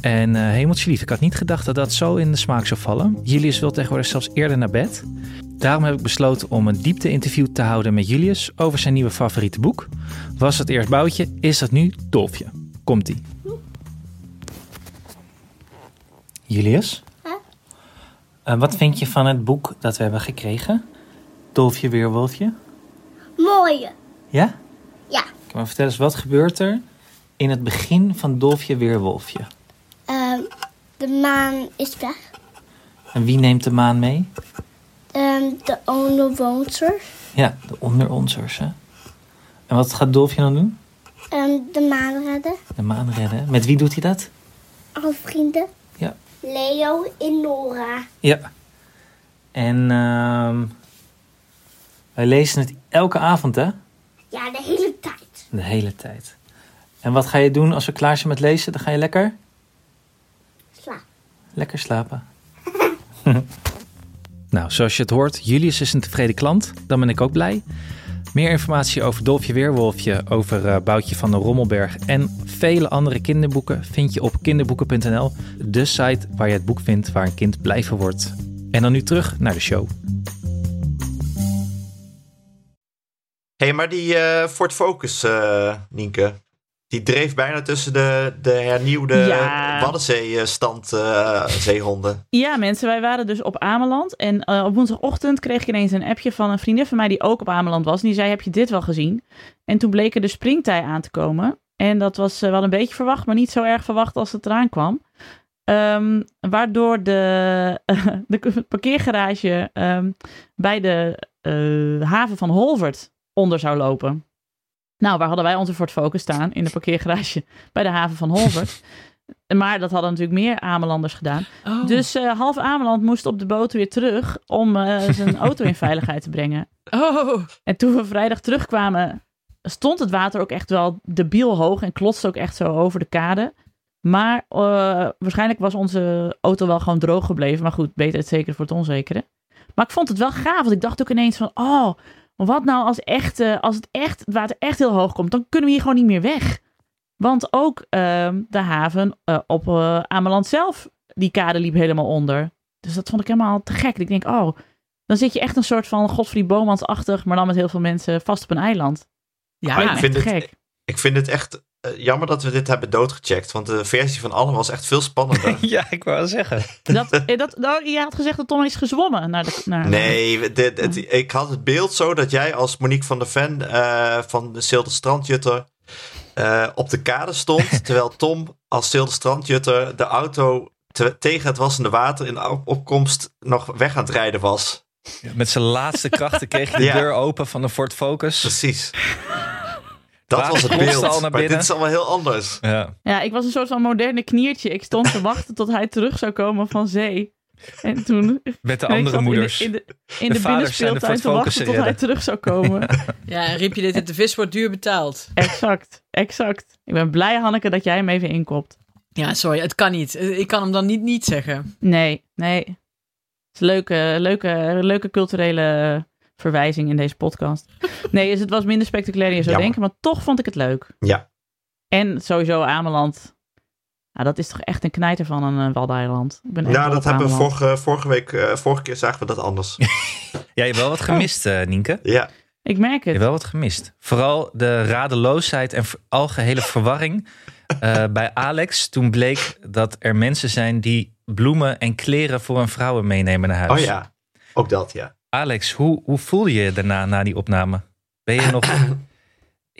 Speaker 1: En eh, hemeltje lief, ik had niet gedacht dat dat zo in de smaak zou vallen. Julius wil tegenwoordig zelfs eerder naar bed. Daarom heb ik besloten om een diepte-interview te houden met Julius over zijn nieuwe favoriete boek. Was het eerst Boutje, is dat nu Dolfje. Komt-ie. Julius? Eh, wat vind je van het boek dat we hebben gekregen? Dolfje Weerwolfje?
Speaker 5: Mooie.
Speaker 1: Ja?
Speaker 5: Ja.
Speaker 1: Kan je me vertellen eens, wat gebeurt er in het begin van Dolfje Weerwolfje?
Speaker 5: Ehm, de maan is weg.
Speaker 1: En wie neemt de maan mee?
Speaker 5: Ehm, de onderwoonster.
Speaker 1: Ja, de onderonsers, hè? En wat gaat Dolfje dan doen?
Speaker 5: Ehm, de maan redden.
Speaker 1: De maan redden. hè? Met wie doet hij dat?
Speaker 5: Al vrienden.
Speaker 1: Ja.
Speaker 5: Leo en Nora.
Speaker 1: Ja. En ehm, wij lezen het elke avond, hè?
Speaker 5: Ja, de hele tijd.
Speaker 1: De hele tijd. En wat ga je doen als we klaar zijn met lezen? Dan ga je lekker?
Speaker 5: Slaap.
Speaker 1: Lekker slapen. nou, zoals je het hoort, Julius is een tevreden klant. Dan ben ik ook blij. Meer informatie over Dolfje Weerwolfje, over eh, Boutje van de Rommelberg en vele andere kinderboeken vind je op kinderboeken.nl, de site waar je het boek vindt waar een kind blij van wordt. En dan nu terug naar de show.
Speaker 2: Hé, hey, maar die eh, Ford Focus, eh, Nienke. Die dreef bijna tussen de, de hernieuwde
Speaker 3: Ja.
Speaker 2: Waddenzee-stand eh, zeehonden.
Speaker 3: Ja, mensen, wij waren dus op Ameland. En eh, op woensdagochtend kreeg ik ineens een appje van een vriendin van mij die ook op Ameland was. En die zei, heb je dit wel gezien? En toen bleken de springtij aan te komen. En dat was eh, wel een beetje verwacht, maar niet zo erg verwacht als het eraan kwam. Ehm, waardoor de, de parkeergarage ehm, bij de eh, haven van Holvert onder zou lopen. Nou, waar hadden wij onze Ford Focus staan? In de parkeergarage bij de haven van Holvert. maar dat hadden natuurlijk meer Amelanders gedaan.
Speaker 4: Oh.
Speaker 3: Dus eh, half Ameland moest op de boot weer terug om eh, zijn auto in veiligheid te brengen.
Speaker 4: Oh.
Speaker 3: En toen we vrijdag terugkwamen, stond het water ook echt wel debiel hoog en klotste ook echt zo over de kade. Maar eh, waarschijnlijk was onze auto wel gewoon droog gebleven. Maar goed, beter het zekere voor het onzekere. Maar ik vond het wel gaaf, want ik dacht ook ineens van, oh, wat nou als, echt, eh, als het, echt, het water echt heel hoog komt, dan kunnen we hier gewoon niet meer weg. Want ook ehm, de haven eh, op eh, Ameland zelf, die kade liep helemaal onder. Dus dat vond ik helemaal te gek. Ik denk, oh, dan zit je echt een soort van Godfried Bomans-achtig, maar dan met heel veel mensen vast op een eiland.
Speaker 4: Ja.
Speaker 2: Maar ik
Speaker 3: echt
Speaker 2: vind het-
Speaker 3: gek.
Speaker 2: Ik vind het echt eh, jammer dat we dit hebben doodgecheckt. Want de versie van Anne was echt veel spannender.
Speaker 1: Ja, ik wou zeggen.
Speaker 3: Dat, eh, dat, nou, je had gezegd dat Tom is gezwommen naar de... Naar,
Speaker 2: Nee, we- dit, het- ik had het beeld zo dat jij als Monique van der Ven eh, van de Zilde Strandjutter eh, op de kade stond. terwijl Tom als Zilde Strandjutter de auto te- tegen het wassende water in de op- opkomst nog weg aan het rijden was.
Speaker 1: Met zijn laatste krachten kreeg je de
Speaker 2: Ja.
Speaker 1: deur open van de Ford Focus.
Speaker 2: Precies. Dat
Speaker 1: Waar
Speaker 2: was
Speaker 1: ik
Speaker 2: het
Speaker 1: moest al
Speaker 2: beeld.
Speaker 1: naar
Speaker 2: Maar dit
Speaker 1: binnen.
Speaker 2: is allemaal heel anders.
Speaker 1: Ja.
Speaker 3: Ja, ik was een soort van moderne kniertje. Ik stond te wachten tot hij terug zou komen van zee. En toen
Speaker 1: Met de
Speaker 3: Nee, ik
Speaker 1: andere
Speaker 3: zat
Speaker 1: moeders.
Speaker 3: In de, in de, in
Speaker 1: De
Speaker 3: de,
Speaker 1: vaders zijn er voor
Speaker 3: binnenspeeltuin
Speaker 1: het
Speaker 3: te wachten
Speaker 1: focussen,
Speaker 3: tot hij
Speaker 1: Jelle.
Speaker 3: terug zou komen.
Speaker 4: Ja, en riep je dit, het, de vis wordt duur betaald.
Speaker 3: exact, exact. Ik ben blij, Hanneke, dat jij hem even inkopt.
Speaker 4: Ja, sorry, het kan niet. Eh, Ik kan hem dan niet niet zeggen.
Speaker 3: Nee, nee. Het is een leuke, leuke, leuke culturele verwijzing in deze podcast. Nee, dus het was minder spectaculair dan je zou
Speaker 2: Jammer.
Speaker 3: denken, maar toch vond ik het leuk.
Speaker 2: Ja.
Speaker 3: En sowieso Ameland. Nou, dat is toch echt een knijter van een eh, waddeneiland. Ik ben echt
Speaker 2: Nou,
Speaker 3: dol
Speaker 2: dat
Speaker 3: op
Speaker 2: hebben we
Speaker 3: Ameland.
Speaker 2: vorige, vorige week, eh, vorige keer zagen we dat anders.
Speaker 1: Jij hebt wel
Speaker 3: Oh.
Speaker 1: wat gemist, eh, Nienke.
Speaker 2: ja.
Speaker 3: Ik merk
Speaker 1: Je
Speaker 3: het.
Speaker 1: hebt wel wat gemist. Vooral de radeloosheid en ver- algehele verwarring eh, bij Alex. Toen bleek dat er mensen zijn die bloemen en kleren voor hun vrouwen meenemen naar
Speaker 2: Oh
Speaker 1: huis.
Speaker 2: ja, ook dat, ja.
Speaker 1: Alex, hoe, hoe voelde je je daarna, na die opname? Ben je nog...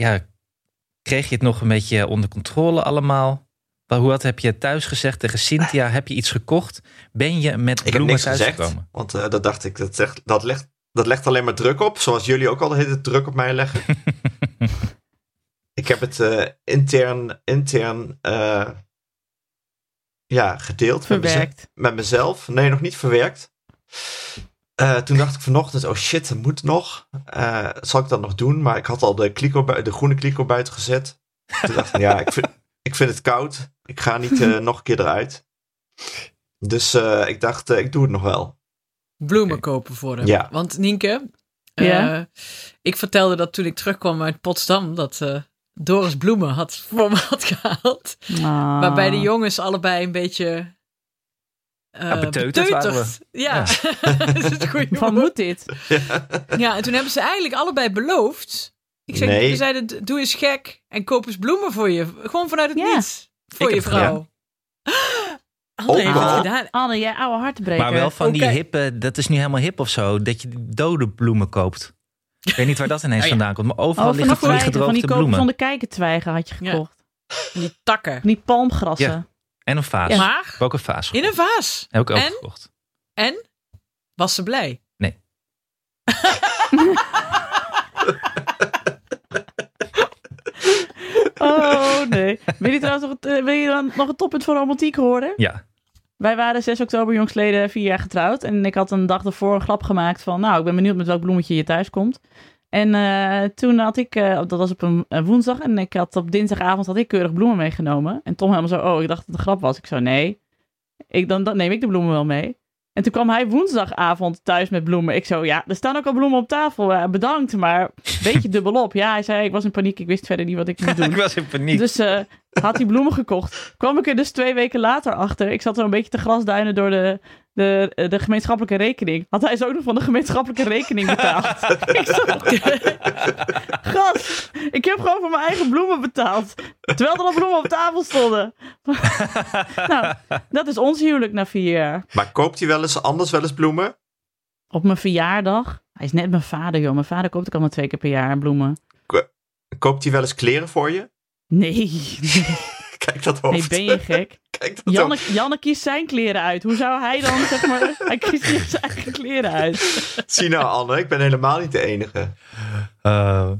Speaker 1: ja, kreeg je het nog een beetje onder controle allemaal? Wel, Hoe had, heb je thuis gezegd tegen Cynthia? Heb je iets gekocht? Ben je met
Speaker 2: Ik heb
Speaker 1: bloemen
Speaker 2: niks
Speaker 1: thuis
Speaker 2: gezegd,
Speaker 1: gekomen?
Speaker 2: want eh, dat dacht ik, dat, zegt, dat, legt, dat legt alleen maar druk op. Zoals jullie ook al de hele tijd druk op mij leggen. ik heb het eh, intern, intern eh, ja, gedeeld met mezelf.
Speaker 3: Verwerkt.
Speaker 2: met mezelf. Nee, nog niet verwerkt. Eh, toen dacht ik vanochtend, oh shit, dat moet nog. Eh, zal ik dat nog doen? Maar ik had al de, kliko, bui- de groene kliko buiten gezet. Toen dacht ik, ja, ik vind, ik vind het koud. Ik ga niet eh, nog een keer eruit. Dus eh, ik dacht, eh, ik doe het nog wel.
Speaker 4: bloemen kopen voor hem.
Speaker 2: Eh, Ja.
Speaker 4: Want Nienke,
Speaker 3: Ja?
Speaker 4: eh, ik vertelde dat toen ik terugkwam uit Potsdam, dat eh, Doris bloemen had voor me had gehaald.
Speaker 3: Ah.
Speaker 4: Waarbij de jongens allebei een beetje... eh,
Speaker 1: Ja, beteuterd waren
Speaker 4: Ja, dat is het goede
Speaker 3: Van
Speaker 4: woord.
Speaker 3: moet dit?
Speaker 4: Ja, en toen hebben ze eigenlijk allebei beloofd. Ik zei,
Speaker 2: Nee.
Speaker 4: We zeiden, "D- doe eens gek en koop eens bloemen voor je. Gewoon vanuit het
Speaker 3: Ja.
Speaker 4: niets. Voor
Speaker 1: Ik
Speaker 4: je
Speaker 1: heb het
Speaker 4: vrouw. Anne
Speaker 2: Ook
Speaker 4: Oh, heeft het
Speaker 2: wel.
Speaker 4: gedaan.
Speaker 3: Anne, jij oude hartbreker. Oh,
Speaker 1: Maar wel van die
Speaker 4: Oké.
Speaker 1: hippe, dat is nu helemaal hip of zo, dat je dode bloemen koopt. Ik weet niet waar dat
Speaker 4: Ah,
Speaker 1: ineens vandaan komt, maar
Speaker 3: Oh,
Speaker 1: overal
Speaker 3: van die
Speaker 1: liggen van die
Speaker 3: twijgen, van die
Speaker 1: gedroogde
Speaker 3: kopen
Speaker 1: bloemen.
Speaker 3: zonder kijken twijgen had je
Speaker 4: Ja.
Speaker 3: gekocht.
Speaker 4: Die takken.
Speaker 3: Van die palmgrassen.
Speaker 1: Ja. En een vaas. Ik
Speaker 4: Maar
Speaker 1: heb ook een vaas
Speaker 4: in
Speaker 1: gekocht.
Speaker 4: een vaas.
Speaker 1: Heb ik ook
Speaker 4: En?
Speaker 1: gekocht.
Speaker 4: En was ze blij.
Speaker 1: Nee.
Speaker 3: Oh nee. Wil je trouwens nog, het, eh, wil je dan nog een toppunt voor romantiek horen?
Speaker 1: Ja.
Speaker 3: Wij waren 6 oktober jongstleden vier jaar getrouwd. En ik had een dag daarvoor een grap gemaakt van... nou, ik ben benieuwd met welk bloemetje je thuis komt. En eh, toen had ik... eh, dat was op een eh, woensdag. En ik had op dinsdagavond had ik keurig bloemen meegenomen. En Tom helemaal zo... oh, ik dacht dat het een grap was. Ik zo, nee. Ik, dan, dan neem ik de bloemen wel mee. En toen kwam hij woensdagavond thuis met bloemen. Ik zo, ja, er staan ook al bloemen op tafel. eh, bedankt, maar een beetje dubbelop. Ja, hij zei, ik was in paniek. Ik wist verder niet wat ik moest doen.
Speaker 1: Ik was in paniek.
Speaker 3: Dus eh, had hij bloemen gekocht. Kwam ik er dus twee weken later achter. Ik zat er een beetje te grasduinen door de, de, de gemeenschappelijke rekening. Had hij ze ook nog van de gemeenschappelijke rekening betaald? ik zat... Gast, ik heb gewoon voor mijn eigen bloemen betaald. Terwijl er al bloemen op tafel stonden. nou, dat is ons huwelijk na vier jaar.
Speaker 2: Maar koopt hij wel eens anders wel eens bloemen?
Speaker 3: Op mijn verjaardag. Hij is net mijn vader, joh. Mijn vader koopt ook allemaal twee keer per jaar bloemen.
Speaker 2: Koopt hij wel eens kleren voor je?
Speaker 3: Nee,
Speaker 2: Kijk dat
Speaker 3: nee,
Speaker 2: hoofd.
Speaker 3: ben je gek?
Speaker 2: Kijk dat
Speaker 3: Janne,
Speaker 2: hoofd.
Speaker 3: Janne kiest zijn kleren uit. Hoe zou hij dan, zeg maar... hij kiest niet zijn eigen kleren uit.
Speaker 2: Zie nou Anne, ik ben helemaal niet de enige.
Speaker 1: Eh,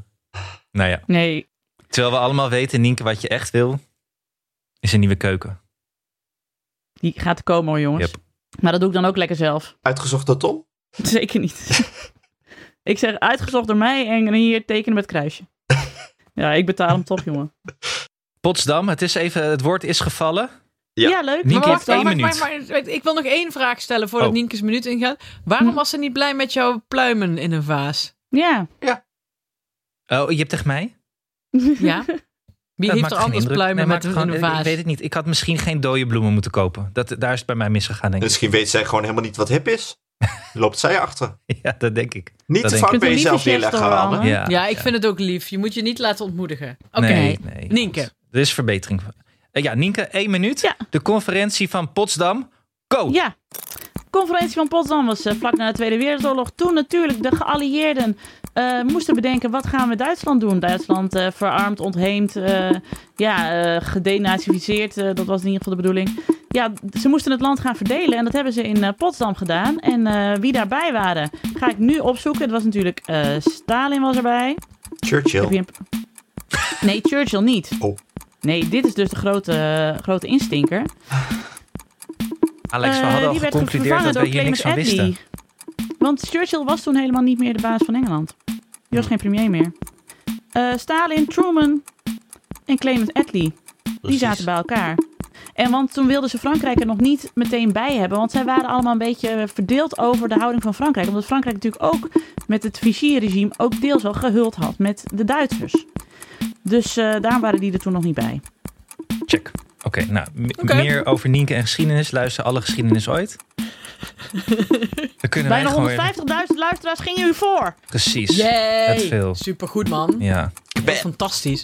Speaker 1: nou ja,
Speaker 3: Nee,
Speaker 1: terwijl we allemaal weten, Nienke, wat je echt wil, is een nieuwe keuken.
Speaker 3: die gaat komen hoor, jongens.
Speaker 1: Yep.
Speaker 3: Maar dat doe ik dan ook lekker zelf.
Speaker 2: Uitgezocht door Tom?
Speaker 3: Zeker niet. ik zeg, uitgezocht door mij en hier tekenen met kruisje. Ja, ik betaal hem toch, jongen.
Speaker 1: Potsdam, het, is even, het woord is gevallen.
Speaker 2: Ja.
Speaker 3: Ja, leuk.
Speaker 1: Nienke
Speaker 4: Maar
Speaker 1: heeft
Speaker 4: wacht,
Speaker 1: één
Speaker 4: maar-
Speaker 1: minuut.
Speaker 4: maar- maar- maar- ik wil nog één vraag stellen voordat
Speaker 1: Oh.
Speaker 4: Nienke's minuut ingaat. Waarom was ze niet blij met jouw pluimen in een vaas?
Speaker 3: Ja.
Speaker 1: Oh, je hebt tegen mij?
Speaker 4: Ja? Wie
Speaker 1: Dat
Speaker 4: heeft
Speaker 1: maakt
Speaker 4: er
Speaker 1: geen
Speaker 4: anders
Speaker 1: indruk. Nee,
Speaker 4: pluimen
Speaker 1: maar
Speaker 4: met een,
Speaker 1: gewoon-
Speaker 4: in een
Speaker 1: Ik
Speaker 4: vaas?
Speaker 1: weet het niet. Ik had misschien geen dode bloemen moeten kopen. Dat, daar is het bij mij misgegaan, denk ik.
Speaker 2: Misschien dus weet zij gewoon helemaal niet wat hip is. Loopt zij achter.
Speaker 1: Ja, dat denk ik.
Speaker 2: Niet
Speaker 1: Dat
Speaker 2: te
Speaker 1: denk
Speaker 2: vaak
Speaker 3: ik.
Speaker 2: bij
Speaker 3: Kunt een
Speaker 2: jezelf
Speaker 3: lieve
Speaker 2: neerleggen,
Speaker 3: gest horen,
Speaker 2: Anne.
Speaker 3: Anne.
Speaker 1: Ja,
Speaker 4: Ja, ik vind het ook lief. Je moet je niet laten ontmoedigen. Oké.
Speaker 1: Nee, nee.
Speaker 4: Nienke.
Speaker 1: Goed. Er is verbetering. Eh, Ja, Nienke, één minuut.
Speaker 3: Ja.
Speaker 1: De conferentie van Potsdam. Go!
Speaker 3: Ja. Conferentie van Potsdam was eh, vlak na de Tweede Wereldoorlog. Toen natuurlijk de geallieerden eh, moesten bedenken wat gaan we Duitsland doen. Duitsland eh, verarmd, ontheemd, eh, ja, eh, gedenazificeerd. eh, dat was in ieder geval de bedoeling. Ja, ze moesten het land gaan verdelen en dat hebben ze in eh, Potsdam gedaan. En eh, wie daarbij waren, ga ik nu opzoeken. Het was natuurlijk eh, Stalin was erbij. Heb je
Speaker 2: Churchill.
Speaker 3: een- Nee, Churchill niet.
Speaker 2: Oh.
Speaker 3: Nee, dit is dus de grote, eh, grote instinker.
Speaker 1: Alex, we
Speaker 3: Eh,
Speaker 1: hadden al
Speaker 3: die werd
Speaker 1: geconcludeerd
Speaker 3: vervangen
Speaker 1: dat we
Speaker 3: door
Speaker 1: hier niks van
Speaker 3: Clement
Speaker 1: wisten.
Speaker 3: Attlee. Want Churchill was toen helemaal niet meer de baas van Engeland. Die
Speaker 1: Hmm.
Speaker 3: was geen premier meer. Eh, Stalin, Truman en Clement Attlee. Die zaten bij elkaar. En want toen wilden ze Frankrijk er nog niet meteen bij hebben. Want zij waren allemaal een beetje verdeeld over de houding van Frankrijk. Omdat Frankrijk natuurlijk ook met het Vichy-regime ook deels wel gehuld had met de Duitsers. Dus eh daarom waren die er toen nog niet bij.
Speaker 1: Check. Oké. nou, m-
Speaker 4: Oké.
Speaker 1: meer over Nienke en geschiedenis. Luister alle geschiedenis ooit. We kunnen
Speaker 3: Bijna
Speaker 1: wij gewoon...
Speaker 3: 150.000 luisteraars gingen u voor.
Speaker 1: Precies. Dat is veel.
Speaker 4: Supergoed, man.
Speaker 1: Ja.
Speaker 4: Dat is Fantastisch.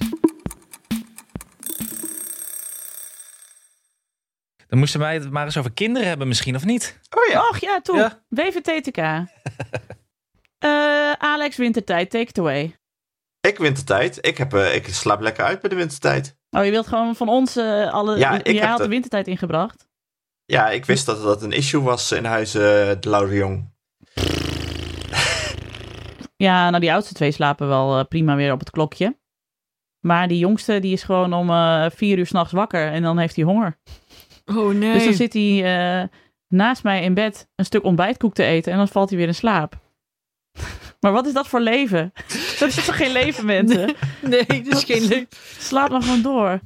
Speaker 1: Dan moesten wij het maar eens over kinderen hebben misschien, of niet?
Speaker 2: Oh ja.
Speaker 3: Och ja, toen.
Speaker 1: Ja.
Speaker 3: WVTTK. Eh, Alex Wintertijd, take it away.
Speaker 2: Ik wintertijd. Ik, heb, eh, ik slaap lekker uit bij de wintertijd.
Speaker 3: Oh, je wilt gewoon van ons eh, alle...
Speaker 2: Ja, ik
Speaker 3: jij
Speaker 2: heb
Speaker 3: had de
Speaker 2: dat.
Speaker 3: wintertijd ingebracht.
Speaker 2: Ja, ik wist dat dat een issue was in huizen de Laude Jong.
Speaker 3: Ja, nou die oudste twee slapen wel eh, prima weer op het klokje. Maar die jongste die is gewoon om eh, vier uur s'nachts wakker en dan heeft hij honger.
Speaker 4: Oh nee.
Speaker 3: Dus dan zit hij eh, naast mij in bed een stuk ontbijtkoek te eten en dan valt hij weer in slaap. maar wat is dat voor leven? Dat is toch geen leven, mensen?
Speaker 4: Nee, dat is geen leuk.
Speaker 3: Slaap maar gewoon door.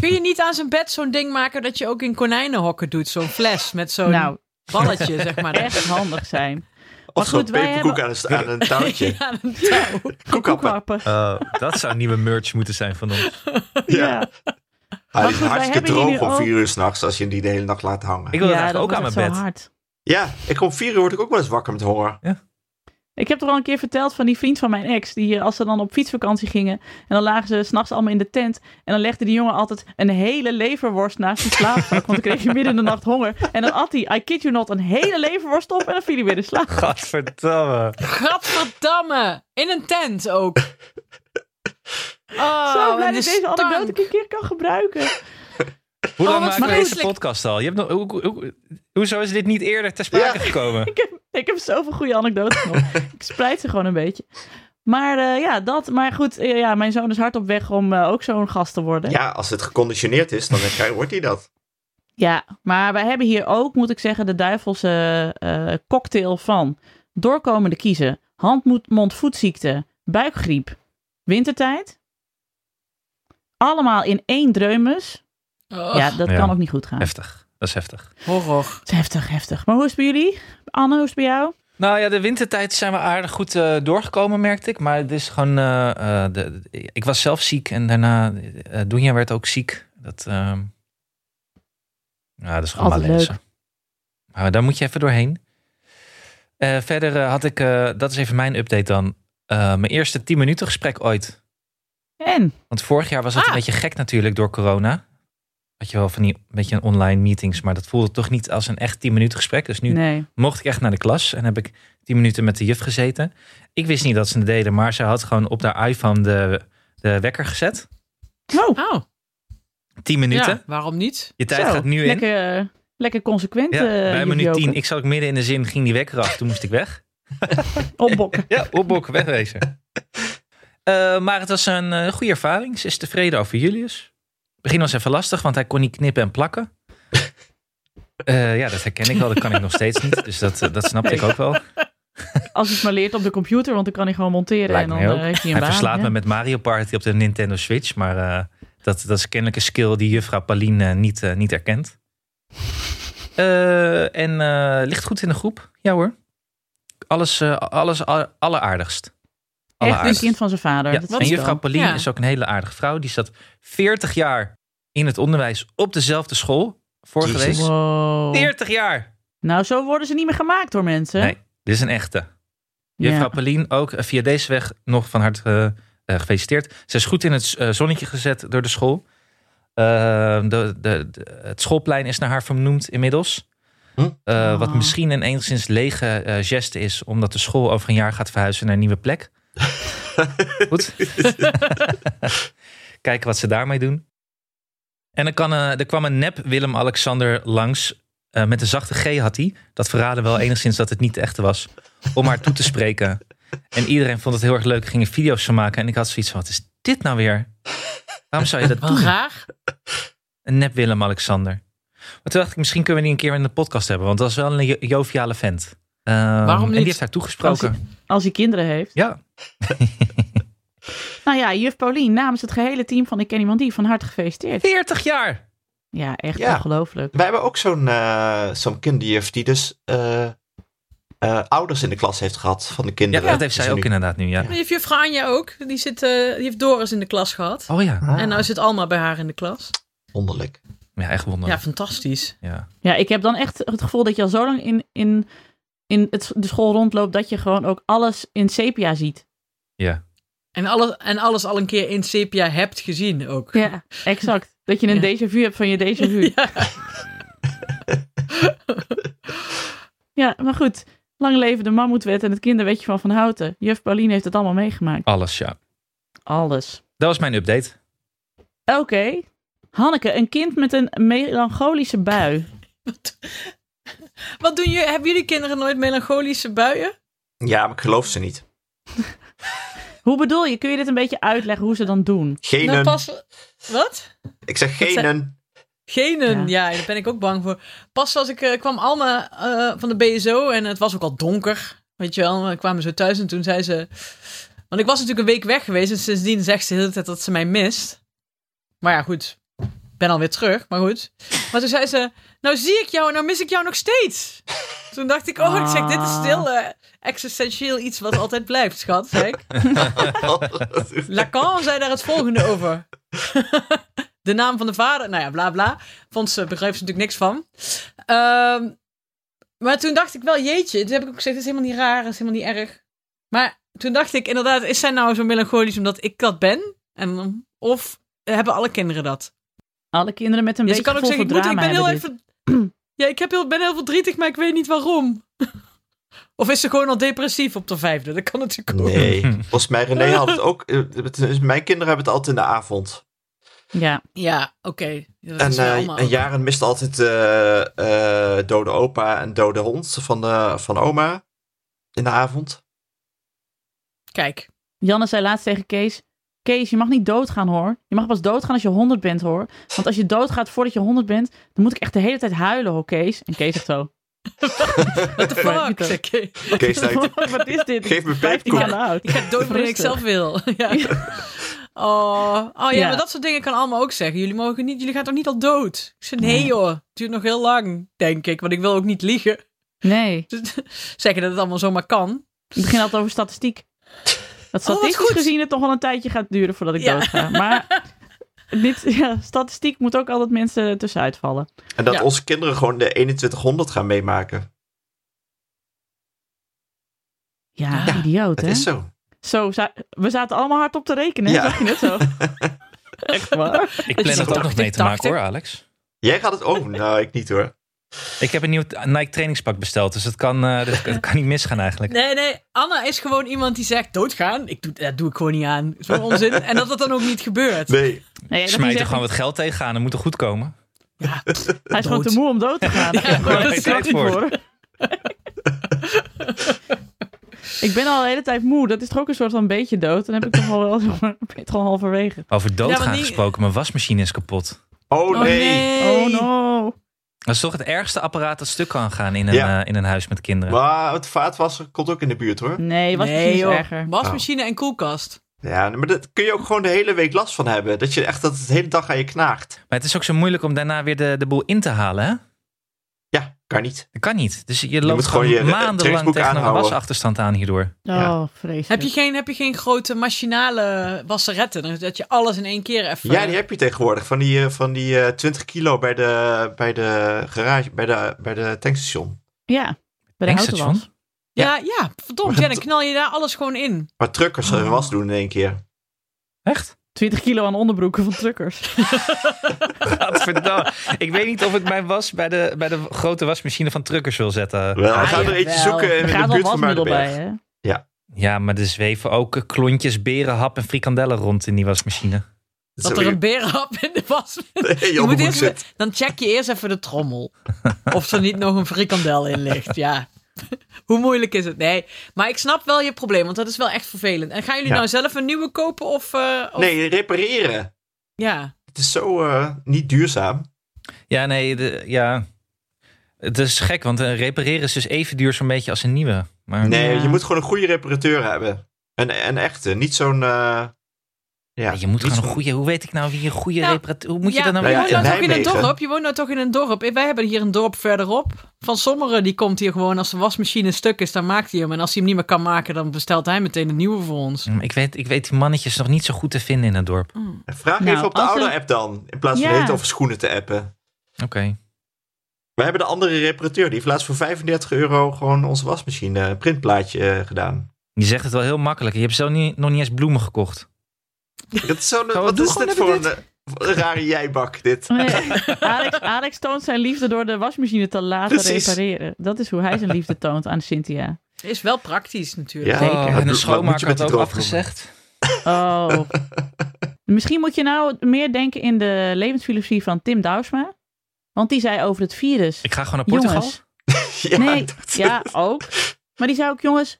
Speaker 4: Kun je niet aan zijn bed zo'n ding maken dat je ook in konijnenhokken doet? Zo'n fles met zo'n
Speaker 3: Nou,
Speaker 4: balletje, zeg maar.
Speaker 3: echt handig zijn.
Speaker 2: Of zo'n
Speaker 3: goed, wij
Speaker 2: peperkoek aan, een, aan een touwtje.
Speaker 4: Ja, aan een touw.
Speaker 2: Koekappen.
Speaker 3: Koekhappen.
Speaker 1: Eh, dat zou nieuwe merch moeten zijn van ons.
Speaker 2: Ja.
Speaker 3: Ja.
Speaker 2: Hij
Speaker 3: Maar
Speaker 2: is
Speaker 3: goed, wij
Speaker 2: hartstikke
Speaker 3: hebben
Speaker 2: droog
Speaker 3: jullie
Speaker 2: om
Speaker 3: ook-
Speaker 2: vier uur s'nachts als je die de hele nacht laat hangen.
Speaker 1: Ik wil
Speaker 3: ja,
Speaker 1: het eigenlijk ook
Speaker 3: wordt
Speaker 1: aan mijn
Speaker 3: echt
Speaker 1: bed.
Speaker 3: zo hard.
Speaker 2: Ja, ik om vier uur word ik ook wel eens wakker met honger.
Speaker 3: Ik heb toch al een keer verteld van die vriend van mijn ex. Die eh, als ze dan op fietsvakantie gingen. En dan lagen ze s'nachts allemaal in de tent. En dan legde die jongen altijd een hele leverworst naast zijn slaapzak. want dan kreeg je midden in de nacht honger. En dan at hij, I kid you not, een hele leverworst op. En dan viel hij weer in slaap.
Speaker 1: Gadverdamme.
Speaker 4: Gadverdamme. In een tent ook. Oh,
Speaker 3: zo blij
Speaker 4: en de
Speaker 3: dat ik deze
Speaker 4: stank.
Speaker 3: anekdote ook een keer kan gebruiken.
Speaker 1: Hoe lang
Speaker 4: Oh, wat
Speaker 1: maken we deze
Speaker 4: vreselijk.
Speaker 1: podcast al? Je hebt nog, hoe, hoe- hoe- hoezo is dit niet eerder ter sprake
Speaker 2: Ja.
Speaker 1: gekomen?
Speaker 3: ik, heb, ik heb zoveel goede anekdotes nog. ik spreid ze gewoon een beetje. Maar eh, ja, dat. Maar goed, eh, ja, mijn zoon is hard op weg om eh, ook zo'n gast te worden.
Speaker 2: Ja, als het geconditioneerd is, dan krijg- wordt hij dat.
Speaker 3: Ja, maar wij hebben hier ook, moet ik zeggen, de duivelse eh, cocktail van doorkomende kiezen, hand-mond-voetziekte, buikgriep, wintertijd. Allemaal in één dreumes.
Speaker 4: Oh,
Speaker 3: ja, dat
Speaker 1: Ja.
Speaker 3: kan ook niet goed gaan. Het
Speaker 1: Heftig. Dat is heftig.
Speaker 4: Horror.
Speaker 3: is heftig, heftig. Maar hoe is het bij jullie? Anne, hoe is het bij jou?
Speaker 1: Nou ja, de wintertijd zijn we aardig goed eh, doorgekomen, merkte ik. Maar het is gewoon... eh, eh, de, de- ik was zelf ziek en daarna... eh Doenja werd ook ziek. Dat, ehm, ja, dat is gewoon
Speaker 3: Altijd
Speaker 1: maar lezen. Maar daar moet je even doorheen. Eh, verder eh, had ik... eh, dat is even mijn update dan. Eh, mijn eerste 10 minuten gesprek ooit.
Speaker 3: En?
Speaker 1: Want vorig jaar was het
Speaker 4: Ah.
Speaker 1: een beetje gek natuurlijk door corona. Had je wel van die een beetje een online meetings, maar dat voelde toch niet als een echt 10 minuten gesprek. Dus nu
Speaker 3: Nee.
Speaker 1: mocht ik echt naar de klas en heb ik 10 minuten met de juf gezeten. Ik wist niet dat ze het deden, maar ze had gewoon op haar iPhone de, de wekker gezet.
Speaker 3: Oh,
Speaker 4: Oh,
Speaker 1: 10 minuten.
Speaker 4: ja, waarom niet?
Speaker 1: Je tijd
Speaker 3: zo.
Speaker 1: gaat nu in.
Speaker 3: Lekker, eh, lekker consequent.
Speaker 1: Ja,
Speaker 3: eh,
Speaker 1: bij
Speaker 3: juf
Speaker 1: minuut
Speaker 3: Joke.
Speaker 1: 10. Ik zat ook midden in de zin, ging die wekker af. Toen moest ik weg.
Speaker 3: Opbokken.
Speaker 1: Ja, opbok, wegwezen. Eh, maar het was een eh, goede ervaring. Ze is tevreden over Julius. Het begin was even lastig, want hij kon niet knippen en plakken. Eh, ja, dat herken ik wel. Dat kan ik nog steeds niet. Dus dat, eh, dat snapte ik ook wel.
Speaker 3: Als hij het maar leert op de computer, want dan kan hij gewoon monteren.
Speaker 1: Lijkt
Speaker 3: en dan
Speaker 1: mij ook.
Speaker 3: eh, heeft hij een
Speaker 1: Hij
Speaker 3: baan.
Speaker 1: verslaat
Speaker 3: ja.
Speaker 1: me met Mario Party op de Nintendo Switch. Maar eh, dat, dat is kennelijk een skill die juffrouw Pauline eh, niet, eh, niet herkent. Eh, en eh, ligt goed in de groep. Ja hoor. Alles, eh, alles a- alleraardigst.
Speaker 3: Echt een
Speaker 1: Alleraardigst.
Speaker 3: kind van zijn vader.
Speaker 1: Ja,
Speaker 3: Dat
Speaker 1: en
Speaker 3: is
Speaker 1: juffrouw
Speaker 3: wel.
Speaker 1: Pauline
Speaker 4: Ja.
Speaker 1: is ook een hele aardige vrouw. Die zat 40 jaar in het onderwijs op dezelfde school voor
Speaker 2: Jezus.
Speaker 1: geweest.
Speaker 3: Wow.
Speaker 1: 40 jaar!
Speaker 3: Nou, zo worden ze niet meer gemaakt door mensen.
Speaker 1: Nee, dit is een echte. Juffrouw Pauline ook eh, via deze weg nog van harte eh, eh, gefeliciteerd. Ze is goed in het eh, zonnetje gezet door de school. Eh, de, de, de- het schoolplein is naar haar vernoemd inmiddels.
Speaker 2: Hm?
Speaker 1: Eh, Wat
Speaker 3: Ah.
Speaker 1: misschien een enigszins lege eh, geste is, omdat de school over een jaar gaat verhuizen naar een nieuwe plek. goed. Kijken wat ze daarmee doen. En er, kan, eh, er kwam een nep Willem-Alexander langs. eh, met een zachte G had hij. Dat verraden wel enigszins dat het niet de echte was. Om haar toe te spreken. En iedereen vond het heel erg leuk. Gingen video's van maken. En ik had zoiets van, wat is dit nou weer? Waarom zou je dat
Speaker 4: Wel
Speaker 1: doen?
Speaker 4: raar.
Speaker 1: Een nep Willem-Alexander. Maar toen dacht ik, misschien kunnen we die een keer in de podcast hebben. Want dat is wel een jo- joviale vent. Ehm, En
Speaker 4: niet?
Speaker 1: die heeft haar toegesproken.
Speaker 3: Als hij kinderen heeft.
Speaker 1: Ja,
Speaker 3: Nou ja, juf Pauline, namens het gehele team van Ik Ken Iemand Die, van harte gefeliciteerd.
Speaker 1: 40 jaar!
Speaker 3: Ja, echt
Speaker 2: Ja.
Speaker 3: ongelooflijk.
Speaker 2: Wij hebben ook zo'n eh, zo'n kinderjuf die dus eh, eh, ouders in de klas heeft gehad van de
Speaker 1: Ja,
Speaker 2: kinderen.
Speaker 1: dat heeft zij
Speaker 2: Dus
Speaker 1: ook
Speaker 2: nu-
Speaker 1: inderdaad nu, ja.
Speaker 4: Die heeft juffrouw Anja ook. Die, zit, eh, die heeft Doris in de klas gehad.
Speaker 1: Oh ja,
Speaker 2: Ah,
Speaker 4: En nou zit Alma bij haar in de klas.
Speaker 2: wonderlijk.
Speaker 1: Ja, echt wonder.
Speaker 4: Ja,
Speaker 1: Ja.
Speaker 4: fantastisch.
Speaker 3: Ja, ik heb dan echt het gevoel dat je al zo lang in, in, in het, de school rondloopt dat je gewoon ook alles in sepia ziet.
Speaker 4: En alles, en alles al een keer in sepia hebt gezien ook.
Speaker 3: Ja, exact. Dat je een
Speaker 4: Ja.
Speaker 3: déjà vu hebt van je déjà vu.
Speaker 4: Ja.
Speaker 3: Ja, maar goed. Lang leven de mammoetwet en het kinderwetje van Van Houten. Juf Pauline heeft het allemaal meegemaakt.
Speaker 1: Alles, ja.
Speaker 3: Alles.
Speaker 1: Dat was mijn update.
Speaker 3: Oké. Hanneke, een kind met een melancholische bui.
Speaker 4: Wat doen jullie? Hebben jullie kinderen nooit melancholische buien?
Speaker 2: Ja, maar ik geloof ze niet.
Speaker 3: Hoe bedoel je? Kun je dit een beetje uitleggen hoe ze dan doen?
Speaker 4: Nou,
Speaker 2: Genen.
Speaker 4: pas... Wat?
Speaker 2: Ik zeg
Speaker 4: Dat zijn-
Speaker 2: genen.
Speaker 4: Genen, ja. daar ben ik ook bang voor. Pas als ik eh, kwam Alma eh, van de BSO en het was ook al donker. Weet je wel, we kwamen zo thuis en toen zei ze... Want ik was natuurlijk een week weg geweest en sindsdien zegt ze de hele tijd dat ze mij mist. Maar ja, goed. Ik ben alweer terug, maar goed. Maar toen zei ze, nou zie ik jou en nou mis ik jou nog steeds. Toen dacht ik, oh, ik zeg, dit is stil eh, existentieel iets wat altijd blijft, schat. Zei ik.
Speaker 2: Oh,
Speaker 4: Lacan zei daar het volgende over. de naam van de vader, nou ja, bla bla. Vond ze, begreep ze natuurlijk niks van. Ehm, maar toen dacht ik wel, jeetje, toen heb ik ook gezegd, het is helemaal niet raar, het is helemaal niet erg. Maar toen dacht ik inderdaad, is zij nou zo melancholisch omdat ik dat ben? En, of hebben alle kinderen dat?
Speaker 3: Alle kinderen met een
Speaker 4: Ja, ze
Speaker 3: beetje
Speaker 4: kan ook
Speaker 3: gevoel
Speaker 4: zeggen, ik,
Speaker 3: voor
Speaker 4: moet, ik
Speaker 3: drama
Speaker 4: ben heel
Speaker 3: hebben dit.
Speaker 4: even... Ja, ik heb heel, ben heel verdrietig, maar ik weet niet waarom. Of is ze gewoon al depressief op de vijfde? Dat kan natuurlijk ook.
Speaker 2: Nee. Volgens mij, René had het ook. eh, het is- Mijn kinderen hebben het altijd in de avond.
Speaker 3: Ja,
Speaker 4: Ja, oké. Ja, dat
Speaker 2: En,
Speaker 4: is wel
Speaker 2: eh,
Speaker 4: allemaal
Speaker 2: en
Speaker 4: ook.
Speaker 2: Jaren mist altijd eh, eh, dode opa en dode hond van, de, van oma in de avond.
Speaker 4: Kijk.
Speaker 3: Janne zei laatst tegen Kees... Kees, je mag niet doodgaan hoor. Je mag pas doodgaan als je 100 bent hoor. Want als je doodgaat voordat je 100 bent... dan moet ik echt de hele tijd huilen hoor, Kees. En Kees zegt zo...
Speaker 4: What the
Speaker 3: Maar
Speaker 4: fuck?
Speaker 3: Pieter.
Speaker 4: Zeg ik.
Speaker 2: Kees zei,
Speaker 3: Wat is dit?
Speaker 2: Geef me
Speaker 3: 15
Speaker 2: peperkoek.
Speaker 3: jaar oud.
Speaker 4: Ik ga dood wanneer ik
Speaker 3: Rustig.
Speaker 4: zelf wil. Ja. Oh, oh ja,
Speaker 3: Ja.
Speaker 4: maar dat soort dingen kan allemaal ook zeggen. Jullie mogen niet, jullie gaan toch niet al dood? Ik zei, nee
Speaker 3: Nee.
Speaker 4: joh, het duurt nog heel lang, denk ik. Want ik wil ook niet liegen.
Speaker 3: Nee,
Speaker 4: Dus zeggen dat het allemaal zomaar kan.
Speaker 3: ik begin altijd over statistiek. Dat statistisch
Speaker 4: Oh, goed.
Speaker 3: gezien het toch wel een tijdje gaat duren voordat ik
Speaker 4: Ja.
Speaker 3: doodga. Maar dit, ja, statistiek moet ook altijd mensen tussenuit vallen.
Speaker 2: en dat
Speaker 4: Ja.
Speaker 2: onze kinderen gewoon de 2100 gaan meemaken.
Speaker 3: Ja,
Speaker 4: Ja,
Speaker 3: idioot
Speaker 2: Dat
Speaker 3: hè?
Speaker 2: is
Speaker 3: Zo.
Speaker 2: zo.
Speaker 3: za- we zaten allemaal hard op te rekenen, hè?
Speaker 2: Ja.
Speaker 3: zag je net zo. Echt waar?
Speaker 1: Ik
Speaker 4: is
Speaker 1: plan het ook nog
Speaker 4: 80,
Speaker 1: mee te maken
Speaker 4: 80.
Speaker 1: hoor, Alex.
Speaker 2: Jij gaat het ook. nou, ik niet hoor.
Speaker 1: Ik heb een nieuw Nike trainingspak besteld, dus dat kan, eh, dat, dat kan niet misgaan eigenlijk.
Speaker 4: Nee, nee, Anna is gewoon iemand die zegt doodgaan. Ik doe, dat doe ik gewoon niet aan. Zo'n onzin. En dat dat dan ook niet gebeurt.
Speaker 2: Nee.
Speaker 3: Nee, dat
Speaker 1: Smijt
Speaker 3: is
Speaker 1: er
Speaker 3: echt-
Speaker 1: gewoon wat geld tegenaan, Nou, dat moet er goed komen.
Speaker 4: Ja,
Speaker 3: hij is gewoon
Speaker 4: dood.
Speaker 3: te moe om dood te gaan.
Speaker 4: Ja,
Speaker 1: daar
Speaker 3: dat
Speaker 1: heb je
Speaker 3: is
Speaker 1: tijd
Speaker 3: niet
Speaker 1: voor.
Speaker 3: voor. ik ben al de hele tijd moe. Dat is toch ook een soort van beetje dood. Dan heb ik toch wel wel zo- ben je toch al halverwege.
Speaker 1: Over doodgaan
Speaker 4: Ja, maar die-
Speaker 1: gesproken, mijn wasmachine is kapot.
Speaker 2: Oh nee.
Speaker 4: Oh nee.
Speaker 3: Oh no.
Speaker 1: Dat is toch het ergste apparaat dat stuk kan gaan in een,
Speaker 2: Ja.
Speaker 1: eh, in een huis met kinderen.
Speaker 2: Maar het vaatwasser komt ook in de buurt hoor.
Speaker 3: Nee, was
Speaker 4: Nee,
Speaker 3: precies
Speaker 4: joh. Oh,
Speaker 3: erger.
Speaker 4: Wasmachine en koelkast.
Speaker 2: Ja, maar daar kun je ook gewoon de hele week last van hebben. Dat je echt dat het de hele dag aan je knaagt.
Speaker 1: Maar het is ook zo moeilijk om daarna weer de, de boel in te halen, hè?
Speaker 2: Ja, kan niet.
Speaker 1: Dat kan niet. Dus je loopt
Speaker 2: moet gewoon
Speaker 1: gewoon,
Speaker 2: je, eh,
Speaker 1: maandenlang
Speaker 2: trainingsboek
Speaker 1: tegen een
Speaker 2: aanhouden.
Speaker 1: wasachterstand aan hierdoor.
Speaker 2: Ja.
Speaker 3: Oh, vreselijk.
Speaker 4: Heb je, geen, heb je geen grote machinale wasseretten? Dus Dat je alles in één keer even...
Speaker 2: Ja, die heb je tegenwoordig. Van die, eh, van die eh 20 kilo bij de, bij de garage, bij de, bij de tankstation.
Speaker 3: Ja, bij de
Speaker 1: Tankstation?
Speaker 3: autowas.
Speaker 4: Ja, ja, verdomd. Ja, dan knal je daar alles gewoon in.
Speaker 2: Waar truckers hun was doen in één keer.
Speaker 1: Echt?
Speaker 3: 20 kilo aan onderbroeken van truckers.
Speaker 1: Gadverdamme. ik weet niet of ik mijn was bij de, bij de grote wasmachine van truckers wil zetten. Ah,
Speaker 2: Wel, we gaan
Speaker 4: ja,
Speaker 2: er eentje
Speaker 4: wel.
Speaker 2: zoeken in
Speaker 3: Er
Speaker 2: de
Speaker 3: gaat wel
Speaker 2: buurt van
Speaker 3: wasmiddel bij,
Speaker 2: Muidenberg.
Speaker 3: hè?
Speaker 1: Ja, maar er zweven ook eh, klontjes, beren, hap en frikandellen rond in die wasmachine.
Speaker 4: Dat er een berenhap in de was.
Speaker 2: je
Speaker 4: Je moet
Speaker 2: onderbroek
Speaker 4: eerst,
Speaker 2: zit.
Speaker 4: dan check je eerst even de trommel. Of er niet nog een frikandel in ligt. Ja. Hoe moeilijk is het? Nee. Maar ik snap wel je probleem, want dat is wel echt vervelend. En gaan jullie
Speaker 2: Ja.
Speaker 4: nou zelf een nieuwe kopen? Of, eh, of-
Speaker 2: Nee, repareren.
Speaker 4: Ja.
Speaker 2: Het is zo eh, niet duurzaam.
Speaker 1: Ja, nee, de- ja. Het is gek, want eh, repareren is dus even duur zo'n beetje als een nieuwe. Maar
Speaker 2: Nee,
Speaker 3: Ja.
Speaker 2: je moet gewoon een goede reparateur hebben. Een, een echte, niet zo'n... eh,
Speaker 1: je
Speaker 2: ja,
Speaker 1: moet
Speaker 2: niet
Speaker 1: gewoon een
Speaker 2: zo'n-
Speaker 1: goede... Hoe weet ik nou wie een goede
Speaker 4: Nou,
Speaker 1: reparateur... Hoe moet je
Speaker 4: ja,
Speaker 1: dat nou
Speaker 2: Nou
Speaker 4: je
Speaker 2: ja,
Speaker 1: weten?
Speaker 4: woont
Speaker 2: in
Speaker 4: nou toch in een
Speaker 2: Nijmegen.
Speaker 4: dorp? Je woont nou toch in een dorp? Wij hebben hier een dorp verderop. Van Sommeren, die komt hier gewoon als de wasmachine stuk is, dan maakt hij hem. En als hij hem niet meer kan maken, dan bestelt hij meteen een nieuwe voor ons.
Speaker 1: Hm, Ik weet, ik weet die mannetjes nog niet zo goed te vinden in het dorp.
Speaker 2: Vraag
Speaker 3: Nou,
Speaker 2: even op de
Speaker 3: als
Speaker 2: oude
Speaker 3: een-
Speaker 2: app dan. In plaats van
Speaker 3: Ja.
Speaker 2: het over schoenen te appen.
Speaker 1: Oké.
Speaker 2: We hebben de andere reparateur. Die heeft laatst voor 35 euro gewoon onze wasmachine eh, printplaatje eh, gedaan.
Speaker 1: Je zegt het wel heel makkelijk. Je hebt zelf niet, nog niet eens bloemen gekocht.
Speaker 2: Dat is zo'n-
Speaker 1: wat
Speaker 2: wat
Speaker 1: doe
Speaker 2: is
Speaker 1: gewoon
Speaker 2: dit
Speaker 1: even
Speaker 2: voor een, eh, voor een rare jijbak, dit?
Speaker 3: Nee, Alex, Alex toont zijn liefde door de wasmachine te laten
Speaker 2: Precies.
Speaker 3: repareren. Dat is hoe hij zijn liefde toont aan Cynthia.
Speaker 4: Is wel praktisch natuurlijk.
Speaker 2: Ja.
Speaker 3: Zeker.
Speaker 1: en
Speaker 2: Wat
Speaker 1: de
Speaker 2: moet je met
Speaker 1: schoonmaker
Speaker 2: die
Speaker 1: had ook
Speaker 2: droogbloemen?
Speaker 1: afgezegd.
Speaker 3: Oh. Misschien moet je nou meer denken in de levensfilosofie van Tim Douwsma. Want die zei over het virus.
Speaker 1: Ik ga gewoon naar Portugal.
Speaker 3: Jongens,
Speaker 2: Ja,
Speaker 3: nee,
Speaker 2: dat-
Speaker 3: ja, ook. Maar die zei ook, jongens,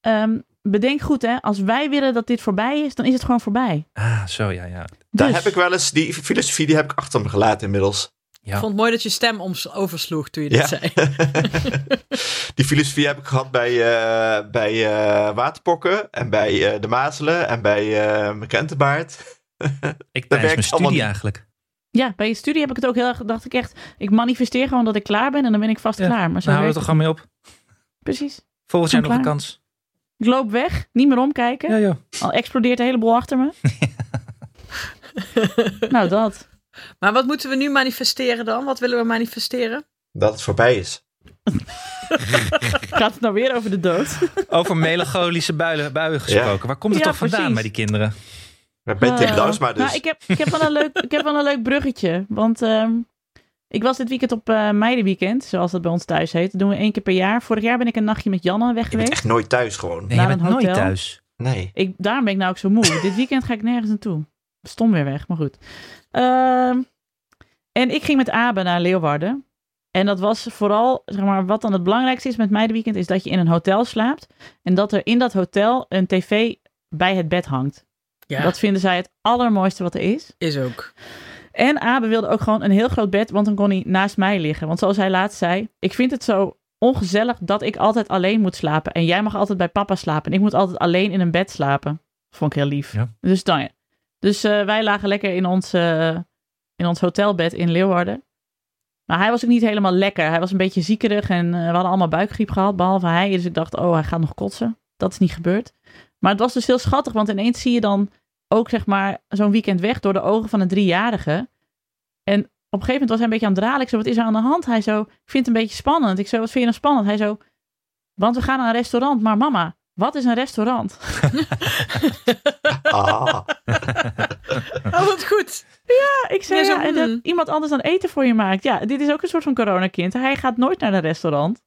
Speaker 3: ehm, bedenk goed hè. Als wij willen dat dit voorbij is, dan is het gewoon voorbij.
Speaker 1: Ah, zo ja, ja.
Speaker 2: Daar
Speaker 3: Dus-
Speaker 2: heb ik wel eens, die filosofie die heb ik achter me gelaten inmiddels.
Speaker 1: Ja.
Speaker 4: Ik vond het mooi dat je stem oms- oversloeg toen je dit
Speaker 2: Ja.
Speaker 4: zei.
Speaker 2: die filosofie heb ik gehad bij, eh, bij eh, waterpokken en bij eh, de mazelen en bij eh mijn kentenbaard.
Speaker 1: Ik
Speaker 2: Dat
Speaker 1: tijdens
Speaker 2: werkt
Speaker 1: mijn studie
Speaker 2: allemaal niet.
Speaker 1: eigenlijk.
Speaker 3: Ja, bij je studie heb ik het ook heel erg, dacht ik echt, ik manifesteer gewoon dat ik klaar ben en dan ben ik vast
Speaker 1: Ja,
Speaker 3: klaar. Maar zo
Speaker 1: Daar houden we
Speaker 3: werkt
Speaker 1: Nou, toch
Speaker 3: het
Speaker 1: gewoon mee op.
Speaker 3: niet. Precies.
Speaker 1: Volgend
Speaker 3: Gewoon
Speaker 1: jaar nog een
Speaker 3: klaar.
Speaker 1: kans.
Speaker 3: Ik loop weg, niet meer omkijken.
Speaker 1: Ja, joh.
Speaker 3: Al explodeert een heleboel achter me. nou, dat.
Speaker 4: Maar wat moeten we nu manifesteren dan? Wat willen we manifesteren?
Speaker 2: Dat het voorbij is.
Speaker 3: Gaat het nou weer over de dood?
Speaker 1: Over melancholische buien, buien gesproken. Waar komt het
Speaker 3: Ja,
Speaker 1: toch vandaan
Speaker 3: precies.
Speaker 1: bij die kinderen?
Speaker 2: Maar bij Tim
Speaker 3: Eh,
Speaker 2: Lausma dus.
Speaker 3: Nou, ik, heb, ik, heb wel een leuk, ik heb wel een leuk bruggetje. Want ehm, ik was dit weekend op eh meidenweekend, zoals dat bij ons thuis heet. Dat doen we één keer per jaar. Vorig jaar ben ik een nachtje met Janne weg
Speaker 2: Je bent
Speaker 3: geweest.
Speaker 2: echt nooit thuis gewoon.
Speaker 1: Nee,
Speaker 3: Naar
Speaker 1: je bent
Speaker 3: een
Speaker 1: nooit
Speaker 3: hotel.
Speaker 1: thuis.
Speaker 2: Nee.
Speaker 3: Ik, daarom ben ik nou ook zo moe. Dit weekend ga ik nergens naartoe. Stom weer weg, maar goed. Ehm, en ik ging met Abe naar Leeuwarden. En dat was vooral, zeg maar, wat dan het belangrijkste is met meidenweekend, is dat je in een hotel slaapt. En dat er in dat hotel een tv bij het bed hangt.
Speaker 4: Ja,
Speaker 3: Dat vinden zij het allermooiste wat er is.
Speaker 4: is ook.
Speaker 3: En Abe wilde ook gewoon een heel groot bed, want dan kon hij naast mij liggen. Want zoals hij laatst zei, ik vind het zo ongezellig dat ik altijd alleen moet slapen. En jij mag altijd bij papa slapen. En ik moet altijd alleen in een bed slapen. Vond ik heel lief.
Speaker 1: Ja.
Speaker 3: Dus, dan, ja. dus eh, wij lagen lekker in ons, eh, in ons hotelbed in Leeuwarden. Maar hij was ook niet helemaal lekker. Hij was een beetje ziekerig en eh, we hadden allemaal buikgriep gehad, behalve hij. Dus ik dacht, oh, hij gaat nog kotsen. Dat is niet gebeurd. Maar het was dus heel schattig, want ineens zie je dan ook zeg maar zo'n weekend weg door de ogen van een driejarige. En op een gegeven moment was hij een beetje aan het dralen. Ik zo, wat is er aan de hand? Hij zo, ik vind het een beetje spannend. Ik zo, wat vind je nou spannend? Hij zo, want we gaan naar een restaurant. Maar mama, wat is een restaurant?
Speaker 2: Ah,
Speaker 4: Oh, wat goed.
Speaker 3: ik zei
Speaker 4: Ja, zo,
Speaker 3: ja, en dat
Speaker 4: mm.
Speaker 3: iemand anders dan eten voor je maakt. Ja, dit is ook een soort van coronakind. Hij gaat nooit naar een restaurant.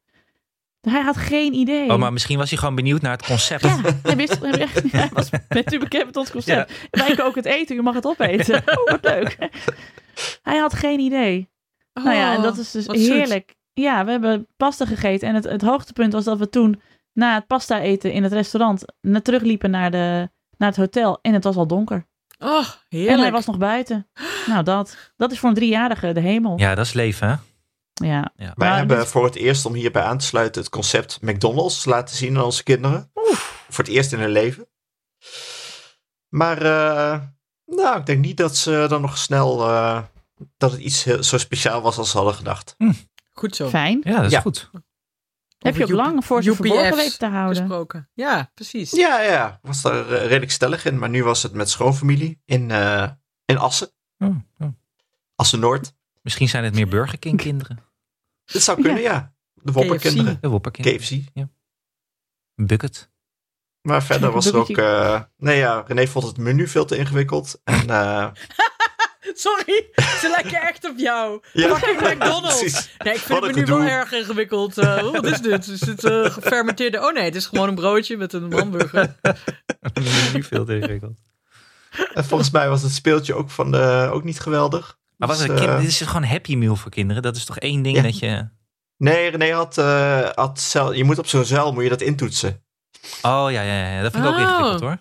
Speaker 3: Hij had geen idee.
Speaker 1: Oh, maar misschien was hij gewoon benieuwd naar het concept.
Speaker 3: Ja, hij wist, hij wist- hij was bent u bekend met ons concept. Wij koken het eten, u mag het opeten. Oh, wat leuk. Hij had geen idee. nou ja, en dat is dus
Speaker 4: Oh, wat zoet.
Speaker 3: heerlijk. Ja, we hebben pasta gegeten. En het, het hoogtepunt was dat we toen na het pasta eten in het restaurant naar terugliepen naar, de, naar het hotel. En het was al donker.
Speaker 4: Oh,
Speaker 3: En hij
Speaker 4: heerlijk.
Speaker 3: was nog buiten. Nou, dat, dat is voor een driejarige de hemel.
Speaker 1: Ja, dat is leven, hè?
Speaker 3: Ja.
Speaker 2: wij
Speaker 3: Maar
Speaker 2: hebben
Speaker 3: dit-
Speaker 2: voor het eerst, om hierbij aan te sluiten, het concept McDonald's laten zien aan onze kinderen. Voor het eerst in hun leven. Maar eh, nou, ik denk niet dat ze dan nog snel, eh, dat het iets heel- zo speciaal was als ze hadden gedacht.
Speaker 4: Goed zo.
Speaker 3: Fijn.
Speaker 1: Ja, dat is
Speaker 2: Ja.
Speaker 1: goed.
Speaker 3: Heb je ook
Speaker 4: Over
Speaker 3: lang voor ze
Speaker 4: UPF's
Speaker 3: verborgen weten te houden.
Speaker 4: gesproken. Ja, precies.
Speaker 2: Ja, ja, ik was daar eh, redelijk stellig in. Maar nu was het met schoonfamilie in, eh, in Assen,
Speaker 1: Oh, oh.
Speaker 2: Assen-Noord.
Speaker 1: Misschien zijn het meer Burger King kinderen.
Speaker 2: Dat zou kunnen, ja. De Wopperkinderen,
Speaker 1: De Wopperkind.
Speaker 2: KFC.
Speaker 1: Bucket.
Speaker 2: Maar verder was er ook...
Speaker 3: Bukketje.
Speaker 2: eh, nee ja, René vond het menu veel te ingewikkeld. En, eh,
Speaker 4: Sorry, ze lijken echt op jou.
Speaker 2: ja,
Speaker 4: Fucking McDonald's.
Speaker 2: precies.
Speaker 4: Nee, ik vind
Speaker 2: Wat
Speaker 4: het
Speaker 2: een
Speaker 4: nu wel
Speaker 2: gedoe.
Speaker 4: erg ingewikkeld. Eh, wat is dit? Is het eh, gefermenteerde... Oh nee, het is gewoon een broodje met een hamburger.
Speaker 1: nu veel te ingewikkeld.
Speaker 2: En volgens mij was het speeltje ook, van de, ook niet geweldig.
Speaker 1: Maar was
Speaker 2: Dus,
Speaker 1: het een kind,
Speaker 2: eh,
Speaker 1: dit is gewoon Happy Meal voor kinderen. Dat is toch één ding
Speaker 2: Ja.
Speaker 1: dat je...
Speaker 2: Nee, René had, eh, had cel, je moet op zo'n zuil moet je dat intoetsen.
Speaker 1: Oh, ja, ja, ja. Dat vind ik ook
Speaker 4: Oh.
Speaker 1: ingewikkeld, hoor.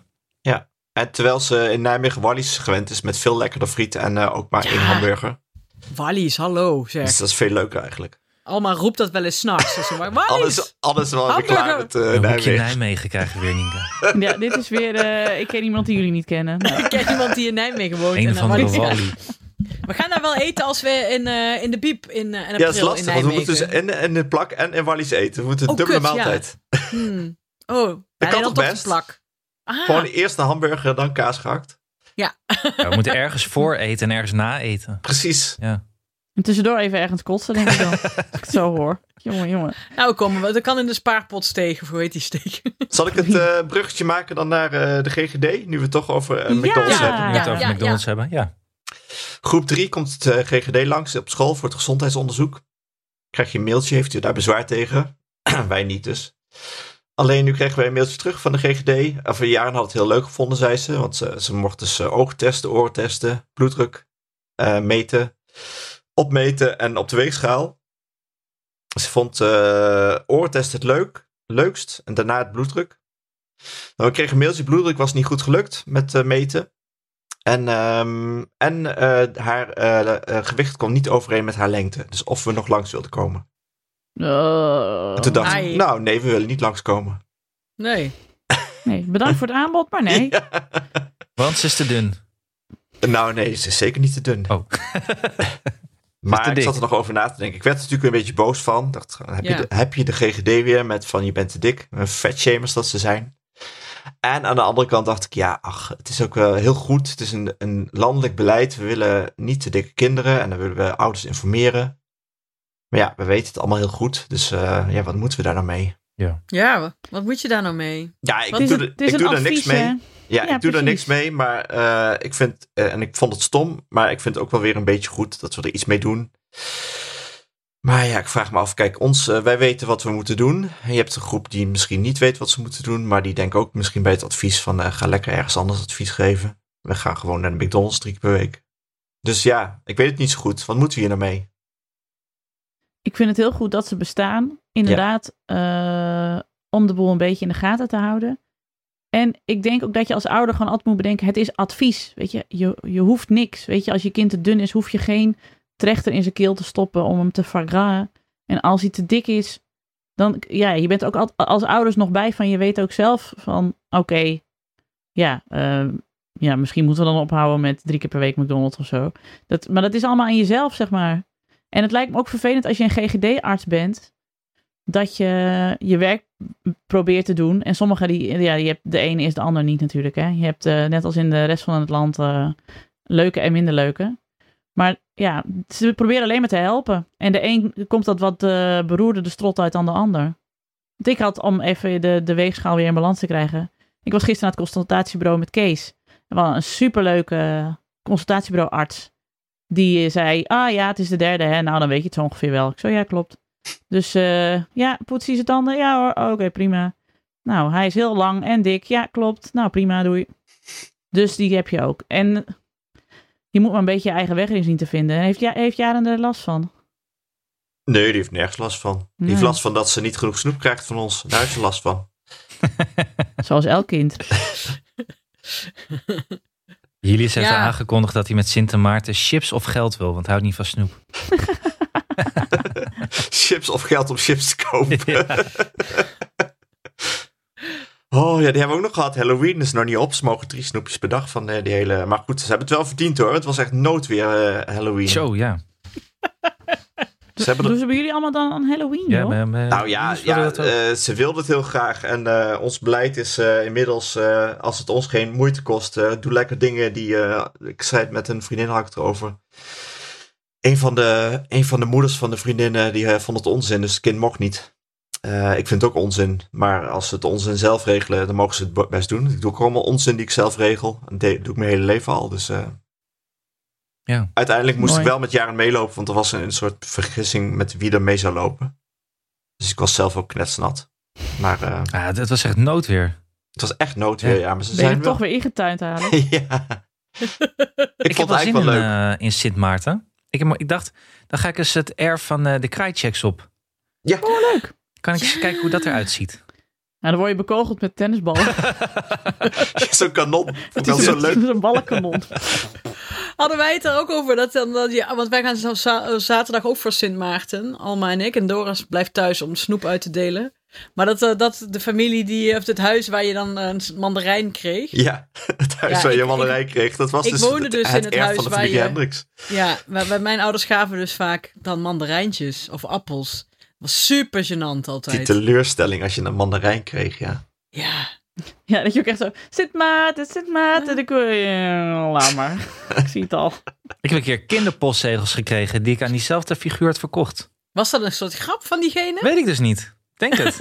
Speaker 2: En terwijl ze in Nijmegen Wallis gewend is met veel lekkerder friet en eh, ook maar één hamburger.
Speaker 4: Wallies, hallo
Speaker 2: Dus
Speaker 4: zeg.
Speaker 2: dat is veel leuker eigenlijk.
Speaker 4: Alma roept dat wel eens s'nachts. Dus ze maar,
Speaker 2: Alles,
Speaker 4: Wallies!
Speaker 2: alles wel weer klaar met eh,
Speaker 1: Een hoekje
Speaker 2: Nijmegen.
Speaker 1: Nijmegen krijgen we weer, Nienke.
Speaker 3: Ja, dit is weer... eh, ik ken iemand die jullie niet kennen. Nou,
Speaker 4: Ik ken iemand die in Nijmegen woont.
Speaker 1: Een
Speaker 4: en
Speaker 1: van
Speaker 4: naar
Speaker 1: de
Speaker 4: Wallies gaat.
Speaker 1: Wally.
Speaker 4: We gaan daar wel eten als we in, eh, in de biep in, eh, in april
Speaker 2: Ja, dat is
Speaker 4: in
Speaker 2: lastig, want we
Speaker 4: Nijmegen.
Speaker 2: moeten dus en in de plak en in Wallis eten. We moeten een
Speaker 4: Oh,
Speaker 2: dubbele
Speaker 4: kut, ja.
Speaker 2: maaltijd.
Speaker 4: Hmm. Oh,
Speaker 2: kan
Speaker 4: dat dan
Speaker 2: toch
Speaker 4: toch
Speaker 2: best?
Speaker 4: een plak. Ah,
Speaker 2: Gewoon eerst een hamburger, dan kaas gehakt.
Speaker 1: Ja, we moeten ergens voor eten en ergens na eten.
Speaker 2: Precies.
Speaker 1: Ja.
Speaker 3: En tussendoor even ergens kotsen, denk ik dan. Als ik het zo hoor. Jongen, jongen.
Speaker 4: Nou, kom, dat kan in de spaarpot steken, of hoe heet die steek?
Speaker 2: Zal ik het eh, bruggetje maken dan naar eh, de GGD? Nu we het toch over eh, McDonald's
Speaker 3: Ja.
Speaker 2: hebben.
Speaker 1: Nu we het
Speaker 4: Ja,
Speaker 1: over
Speaker 4: ja,
Speaker 1: McDonald's hebben. Ja.
Speaker 2: Groep 3 komt het eh, GGD langs op school voor het gezondheidsonderzoek. Krijg je een mailtje, heeft u daar bezwaar tegen? wij niet dus. Alleen nu kregen wij een mailtje terug van de GGD. Of jaren had het heel leuk gevonden, zei ze. Want ze, ze mocht dus eh, oogtesten, oortesten, bloeddruk eh, meten, opmeten en op de weegschaal. Ze vond eh oortest het leuk, leukst en daarna het bloeddruk. Nou, we kregen een mailtje, bloeddruk was niet goed gelukt met eh, meten. En, ehm, en eh, haar eh, eh, gewicht kwam niet overeen met haar lengte. Dus of we nog langs wilden komen.
Speaker 3: Eh,
Speaker 2: En toen dacht ik,
Speaker 4: ai.
Speaker 2: nou nee, we willen niet langskomen.
Speaker 4: Nee.
Speaker 3: Nee, bedankt voor het aanbod, maar nee.
Speaker 2: Ja.
Speaker 1: Want ze is te dun.
Speaker 2: Nou nee, ze is zeker niet te dun.
Speaker 1: Oh.
Speaker 2: maar
Speaker 1: te
Speaker 2: ik
Speaker 1: dik.
Speaker 2: zat er nog over na te denken. Ik werd er natuurlijk een beetje boos van. Ik dacht, heb,
Speaker 4: Ja.
Speaker 2: je de, heb je de GGD weer met van je bent te dik. Een vetshamers dat ze zijn. En aan de andere kant dacht ik, ja, ach, het is ook wel heel goed. Het is een, een landelijk beleid. We willen niet te dikke kinderen en dan willen we ouders informeren. Maar ja, we weten het allemaal heel goed. Dus eh, ja, wat moeten we daar nou mee?
Speaker 4: Ja, wa- wat moet je daar nou mee?
Speaker 2: Ja, ik
Speaker 4: Wat
Speaker 3: Het is,
Speaker 2: doe,
Speaker 3: een-
Speaker 2: er-
Speaker 3: het is
Speaker 2: ik
Speaker 3: een
Speaker 2: doe daar
Speaker 3: advies,
Speaker 2: niks mee.
Speaker 3: hè.
Speaker 2: Ja,
Speaker 3: Ja,
Speaker 2: ik doe daar niks
Speaker 3: precies.
Speaker 2: mee, maar eh, ik vind, eh, en ik vond het stom, maar ik vind het ook wel weer een beetje goed dat we er iets mee doen. Maar ja, ik vraag me af, kijk, ons, eh, wij weten wat we moeten doen. En je hebt een groep die misschien niet weet wat ze moeten doen, maar die denken ook misschien bij het advies van eh, ga lekker ergens anders advies geven. We gaan gewoon naar de McDonald's drie keer per week. Dus ja, ik weet het niet zo goed. Wat moeten we hier nou mee?
Speaker 3: Ik vind het heel goed dat ze bestaan. Inderdaad, eh, om de boel een beetje in de gaten te houden. En ik denk ook dat je als ouder gewoon altijd moet bedenken: het is advies. Weet je, je, je hoeft niks. Weet je, als je kind te dun is, hoef je geen trechter in zijn keel te stoppen om hem te vergraten. En als hij te dik is, dan, ja, je bent ook al- als ouders nog bij van je weet ook zelf van: oké, ja, eh, ja, misschien moeten we dan ophouden met drie keer per week McDonald's of zo. Dat, maar dat is allemaal aan jezelf, zeg maar. En het lijkt me ook vervelend als je een GGD-arts bent, dat je je werk probeert te doen. En sommigen, die, ja, je hebt, de ene is de ander niet natuurlijk. Hè? Je hebt eh, net als in de rest van het land eh, leuke en minder leuke. Maar ja, ze proberen alleen maar te helpen. En de een komt dat wat eh beroerder de strot uit dan de ander. Want ik had, om even de, de weegschaal weer in balans te krijgen, ik was gisteren aan het consultatiebureau met Kees. Wel een superleuke eh, consultatiebureauarts. Die zei, ah ja, het is de derde, hè? nou dan weet je het zo ongeveer wel. Ik zo, ja, klopt. Dus eh, ja, poetst hij zijn tanden? Ja hoor, Oh, oké, prima. Nou, hij is heel lang en dik. Ja, klopt. Nou, prima, doei. Dus die heb je ook. En je moet maar een beetje je eigen weg erin zien te vinden. En heeft, ja, heeft Jaren er last van?
Speaker 2: Nee, die heeft nergens last van. Die
Speaker 3: Nee.
Speaker 2: heeft last van dat ze niet genoeg snoep krijgt van ons. Daar heeft ze last van.
Speaker 3: Zoals elk kind.
Speaker 1: Julius heeft
Speaker 4: Ja.
Speaker 1: aangekondigd dat hij met Sint Maarten chips of geld wil, want hij houdt niet van snoep.
Speaker 2: chips of geld om chips te kopen. Oh ja, die hebben we ook nog gehad. Halloween is nog niet op. Ze mogen drie snoepjes per dag van eh, die hele... Maar goed, ze hebben het wel verdiend hoor. Het was echt noodweer eh, Halloween.
Speaker 1: Zo, ja.
Speaker 2: Ze hebben
Speaker 3: Doen
Speaker 2: er...
Speaker 3: ze bij jullie allemaal dan aan Halloween,
Speaker 1: ja
Speaker 3: joh?
Speaker 1: maar, maar-
Speaker 2: Nou ja,
Speaker 1: wilden
Speaker 2: ja
Speaker 1: dat ook.
Speaker 2: eh, ze wilden het heel graag. En eh, ons beleid is eh, inmiddels, eh, als het ons geen moeite kost, eh, doe lekker dingen die... eh, ik zei het met een vriendin, had ik het erover. Een van, de, een van de moeders van de vriendinnen, die eh, vond het onzin. Dus het kind mocht niet. Eh, ik vind het ook onzin. Maar als ze het onzin zelf regelen, dan mogen ze het best doen. Ik doe ook allemaal onzin die ik zelf regel. En dat doe ik mijn hele leven al. Dus, eh,
Speaker 1: Ja.
Speaker 2: Uiteindelijk moest
Speaker 3: Mooi.
Speaker 2: ik wel met Jaren meelopen, want er was een, een soort vergissing met wie er mee zou lopen. Dus ik was zelf ook knetsnat. Maar eh,
Speaker 1: Ah, dat was echt noodweer.
Speaker 2: het was echt noodweer, ja.
Speaker 1: Ja.
Speaker 2: maar ze
Speaker 3: ben je
Speaker 2: zijn
Speaker 3: er
Speaker 2: wel...
Speaker 3: toch weer ingetuind, halen?
Speaker 2: ja.
Speaker 1: Ik,
Speaker 2: Ik,
Speaker 1: heb
Speaker 2: vond het
Speaker 1: wel zin
Speaker 2: eigenlijk
Speaker 1: in,
Speaker 2: wel leuk.
Speaker 1: eh, in Sint Maarten. Ik, heb, ik dacht, dan ga ik eens het erf van eh, de kraaijchecks op.
Speaker 2: Ja.
Speaker 1: Oh, leuk. Kan ik eens kijken hoe dat eruit ziet?
Speaker 3: Nou, dan word je bekogeld met tennisballen.
Speaker 1: eh,
Speaker 2: Zo'n kanon. Vond ik wel
Speaker 3: is
Speaker 2: zo leuk.
Speaker 3: een ballenkanon.
Speaker 4: Hadden wij het er ook over? Dat dan, dat, ja, want wij gaan zelfs za- eh, zaterdag ook voor Sint Maarten, Alma en ik. En Doris blijft thuis om snoep uit te delen. Maar dat, eh, dat de familie, die, of het huis waar je dan een mandarijn kreeg.
Speaker 2: Ja, het huis
Speaker 4: Ja,
Speaker 2: waar
Speaker 4: ik-
Speaker 2: je mandarijn kreeg. Dat was
Speaker 4: ik
Speaker 2: dus,
Speaker 4: woonde
Speaker 2: het,
Speaker 4: dus in
Speaker 2: het
Speaker 4: het
Speaker 2: erf
Speaker 4: huis
Speaker 2: van de
Speaker 4: waar
Speaker 2: familie
Speaker 4: je-
Speaker 2: Hendricks.
Speaker 4: Ja, maar bij mijn ouders gaven dus vaak dan mandarijntjes of appels. Dat was super gênant
Speaker 2: Die
Speaker 4: altijd.
Speaker 2: teleurstelling als je een mandarijn kreeg, ja.
Speaker 4: Ja,
Speaker 3: Ja, dat je ook echt zo... Zit maat, zit maat, en dan kun je... Laat maar. Ik zie het al.
Speaker 1: Ik heb een keer kinderpostzegels gekregen die ik aan diezelfde figuur had verkocht.
Speaker 4: Was dat een soort grap van diegene?
Speaker 1: Weet ik dus niet. Denk het.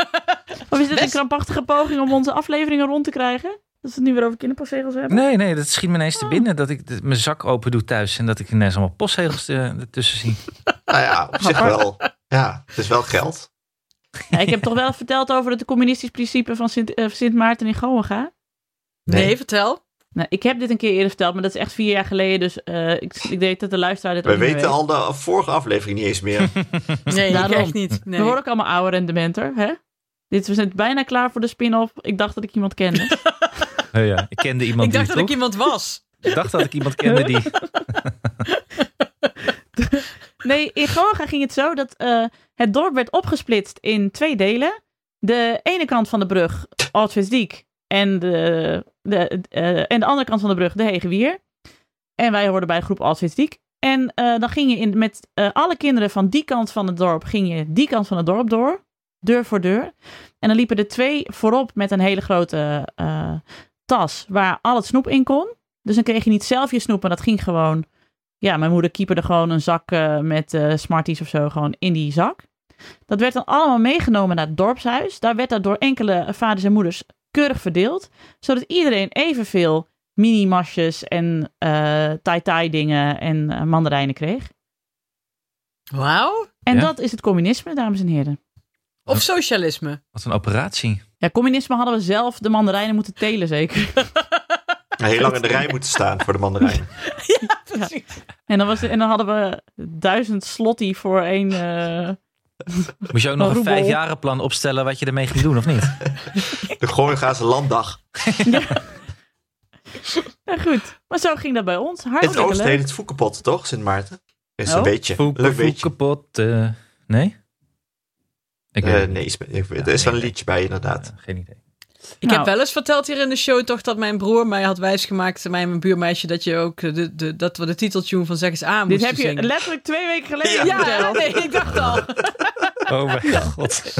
Speaker 3: Of is dit een
Speaker 4: Best.
Speaker 3: krampachtige poging om onze afleveringen rond te krijgen? Dat we het nu weer over kinderpostzegels hebben?
Speaker 1: Nee, nee, dat schiet me ineens
Speaker 3: Oh.
Speaker 1: te binnen dat ik de- mijn zak open doe thuis en dat ik ineens allemaal postzegels eh, ertussen zie.
Speaker 2: Nou ja, op zich wel. Ja, het is wel geld.
Speaker 3: Ja, ik heb toch wel verteld over het communistisch principe van Sint, eh, Sint Maarten in Goa.
Speaker 4: Nee,
Speaker 2: Nee.
Speaker 4: vertel.
Speaker 3: Nou, ik heb dit een keer eerder verteld, maar dat is echt vier jaar geleden. Dus eh, ik, ik denk dat de luisteraar dit
Speaker 2: We
Speaker 3: ook niet meer
Speaker 2: weten
Speaker 3: weet.
Speaker 2: al de vorige aflevering niet eens meer.
Speaker 4: Nee, ik
Speaker 3: Daarom.
Speaker 4: echt niet. Nee.
Speaker 3: We worden ook allemaal ouder en dementer, hè? Dit, we zijn bijna klaar voor de spin-off. Ik dacht dat ik iemand kende.
Speaker 1: Oh ja, ik kende iemand
Speaker 4: ik dacht
Speaker 1: die
Speaker 4: dat ik
Speaker 1: het
Speaker 4: iemand was.
Speaker 1: droeg. ik dacht dat ik iemand kende die...
Speaker 3: Nee, in Goa ging het zo dat eh, het dorp werd opgesplitst in twee delen. De ene kant van de brug, Altvisdiek, en de, de, eh, en de andere kant van de brug, de Hegewier. En wij hoorden bij groep Altvisdiek. En eh, dan ging je in, met eh, alle kinderen van die kant van het dorp, ging je die kant van het dorp door, deur voor deur. En dan liepen er twee voorop met een hele grote eh, tas waar al het snoep in kon. Dus dan kreeg je niet zelf je snoep, maar dat ging gewoon ja, mijn moeder keeperde gewoon een zak eh, met eh, Smarties of zo gewoon in die zak. Dat werd dan allemaal meegenomen naar het dorpshuis. Daar werd dat door enkele vaders en moeders keurig verdeeld. Zodat iedereen evenveel mini-masjes en eh tai-tai dingen en eh, mandarijnen kreeg.
Speaker 4: Wauw.
Speaker 3: En
Speaker 1: Ja.
Speaker 3: dat is het communisme, dames en heren.
Speaker 4: Of socialisme.
Speaker 1: Wat een operatie.
Speaker 3: Ja, communisme hadden we zelf de mandarijnen moeten telen, zeker.
Speaker 2: Heel lang in de rij moeten staan voor de mandarijn.
Speaker 3: En dan, was en dan hadden we duizend slotty voor één... eh,
Speaker 1: Moest je ook nog een
Speaker 3: Roebel.
Speaker 1: vijfjarenplan opstellen wat je ermee ging doen, of niet?
Speaker 2: De Gooigaanse landdag.
Speaker 3: Nou goed, maar zo ging dat bij ons.
Speaker 2: In het
Speaker 3: Hartstikke
Speaker 2: oosten
Speaker 3: leuk.
Speaker 2: heet het Foekepot, toch, Sint Maarten? Is
Speaker 3: Oh.
Speaker 2: een beetje.
Speaker 1: Voeken,
Speaker 2: leuk beetje.
Speaker 1: kapot. eh, nee? Ik weet
Speaker 2: Eh,
Speaker 1: het niet.
Speaker 2: nee, is- ik weet-
Speaker 1: Ja,
Speaker 2: er is wel een
Speaker 1: nee,
Speaker 2: liedje bij, inderdaad.
Speaker 1: Eh, geen idee.
Speaker 4: Ik
Speaker 3: Nou.
Speaker 4: heb wel eens verteld hier in de show toch dat mijn broer mij had wijsgemaakt, mij en mijn buurmeisje, dat, je ook de, de, dat we de titeltune van Zeg eens aan
Speaker 3: Dit
Speaker 4: moesten
Speaker 3: heb je
Speaker 4: zingen.
Speaker 3: letterlijk twee weken geleden
Speaker 2: Ja.
Speaker 4: ja,
Speaker 3: verteld.
Speaker 4: nee, ik dacht al.
Speaker 1: Oh mijn god.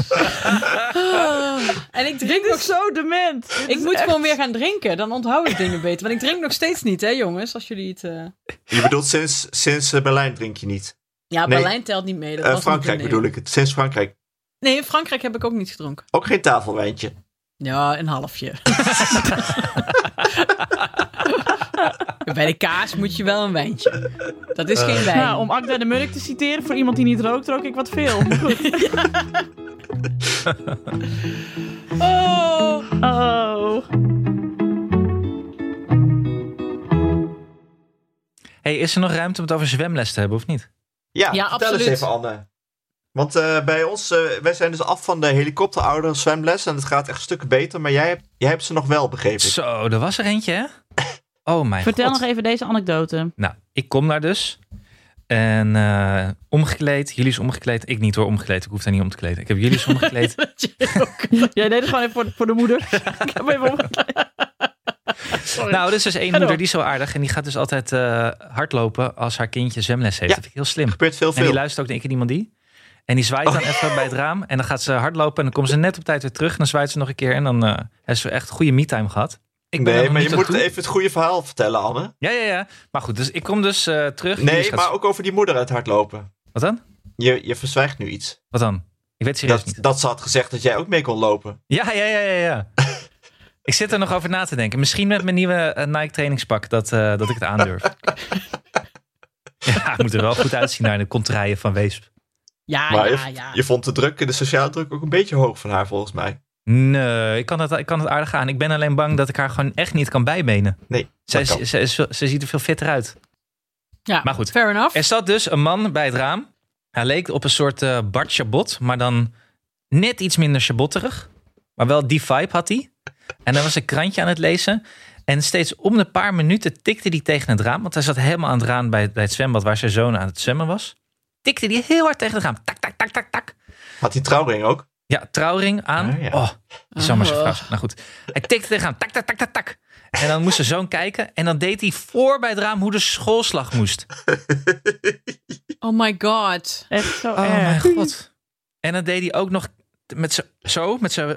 Speaker 4: En ik drink
Speaker 3: Dit
Speaker 4: nog
Speaker 3: is zo dement.
Speaker 4: Ik moet gewoon weer gaan drinken, dan onthoud ik dingen beter. Want ik drink nog steeds niet, hè jongens, als jullie het... eh,
Speaker 2: Je bedoelt sinds, sinds eh, Berlijn drink je niet.
Speaker 4: Ja,
Speaker 2: Nee.
Speaker 4: Berlijn telt niet mee. Dat
Speaker 2: Eh,
Speaker 4: was
Speaker 2: Frankrijk
Speaker 4: niet- nee.
Speaker 2: bedoel ik het. Sinds Frankrijk.
Speaker 4: Nee, in Frankrijk heb ik ook niet gedronken.
Speaker 2: Ook geen tafelwijntje.
Speaker 4: Ja, een halfje. Bij de kaas moet je wel een wijntje. Dat is
Speaker 2: Eh.
Speaker 4: geen wijn.
Speaker 3: Nou, om Akda de Munnik te citeren, voor iemand die niet rookt, rook ik wat veel. Maar Goed.
Speaker 4: Oh.
Speaker 3: Oh.
Speaker 1: Hey, is er nog ruimte om het over zwemles te hebben, of niet?
Speaker 2: Ja,
Speaker 4: Ja,
Speaker 2: vertel
Speaker 4: absoluut.
Speaker 2: eens even, Anne. Want eh, bij ons, eh, wij zijn dus af van de helikopterouder zwemles. En het gaat echt stukken beter. Maar jij, hebt- jij hebt ze nog wel begrepen.
Speaker 1: Zo, er was er eentje, hè? Oh mijn
Speaker 3: Vertel
Speaker 1: god.
Speaker 3: nog even deze anekdote.
Speaker 1: Nou, ik kom daar dus. En eh, omgekleed. Jullie is omgekleed. Ik niet hoor, omgekleed. Ik hoef daar niet om te kleden. Ik heb jullie is omgekleed.
Speaker 4: Dat je ook-
Speaker 3: Jij deed het gewoon even voor, voor de moeder. ik heb hem even opgeklaard.
Speaker 1: nou, er is dus één
Speaker 3: door.
Speaker 1: moeder die is zo aardig. En die gaat dus altijd eh, hardlopen als haar kindje zwemles heeft.
Speaker 2: Ja.
Speaker 1: Dat vind ik heel slim.
Speaker 2: gebeurt veel,
Speaker 1: En
Speaker 2: veel. Oh.
Speaker 1: die luistert ook denk ik iemand die. En die zwaait dan even bij het raam. En dan gaat ze hardlopen. En dan komt ze net op tijd weer terug. En dan zwaait ze nog een keer. En dan eh heeft ze echt goede me-time gehad. Ik ben er
Speaker 2: nee,
Speaker 1: nog
Speaker 2: maar
Speaker 1: niet
Speaker 2: je
Speaker 1: aan
Speaker 2: moet
Speaker 1: toe.
Speaker 2: even het goede verhaal vertellen, Anne.
Speaker 1: Ja, ja, ja. Maar goed, dus ik kom dus eh, terug. Jullie
Speaker 2: Nee,
Speaker 1: gaat-
Speaker 2: maar ook over die moeder uit hardlopen.
Speaker 1: Wat dan?
Speaker 2: Je, je verzwijgt nu iets.
Speaker 1: Wat dan? Ik weet het serieus
Speaker 2: Dat,
Speaker 1: niet.
Speaker 2: dat ze had gezegd dat jij ook mee kon lopen.
Speaker 1: Ja, ja, ja, ja, ja. ik zit er nog over na te denken. Misschien met mijn nieuwe eh, Nike trainingspak dat, eh, dat ik het aandurf. ja, ik moet er wel goed uitzien naar de contraien van Weesp. Ah,
Speaker 4: Ja,
Speaker 2: maar
Speaker 4: ja,
Speaker 2: je,
Speaker 4: ja.
Speaker 2: je vond de druk, de sociale druk, ook een beetje hoog van haar, volgens mij.
Speaker 1: Nee, ik kan, het, ik kan het aardig aan. Ik ben alleen bang dat ik haar gewoon echt niet kan bijbenen.
Speaker 2: Nee,
Speaker 1: Zij,
Speaker 2: dat kan.
Speaker 1: ze, ze, ze- ze ziet er veel fitter uit.
Speaker 4: Ja,
Speaker 1: Maar goed.
Speaker 4: Fair enough.
Speaker 1: Er zat dus een man bij het raam. Hij leek op een soort eh Bart Chabot, maar dan net iets minder Chabotterig. Maar wel die vibe had hij. En dan was een krantje aan het lezen. En steeds om de paar minuten tikte hij tegen het raam. Want hij zat helemaal aan het raam bij, bij het zwembad waar zijn zoon aan het zwemmen was. Tikte hij heel hard tegen het raam. Tak, tak, tak, tak, tak.
Speaker 2: Had die trouwring ook?
Speaker 1: Ja, trouwring aan.
Speaker 2: Ah, ja.
Speaker 1: Oh, die zal maar zijn
Speaker 4: Oh.
Speaker 1: vrouw zijn. Nou goed. Hij tikte tegen hem. Tak, tak, tak, tak, tak. En dan moest zijn zoon kijken. En dan deed hij voor bij het raam hoe de schoolslag moest.
Speaker 4: Oh my god.
Speaker 3: Echt zo
Speaker 1: Oh
Speaker 3: erg. Oh
Speaker 4: Oh,
Speaker 1: mijn god. En dan deed hij ook nog met z'n- zo, met zijn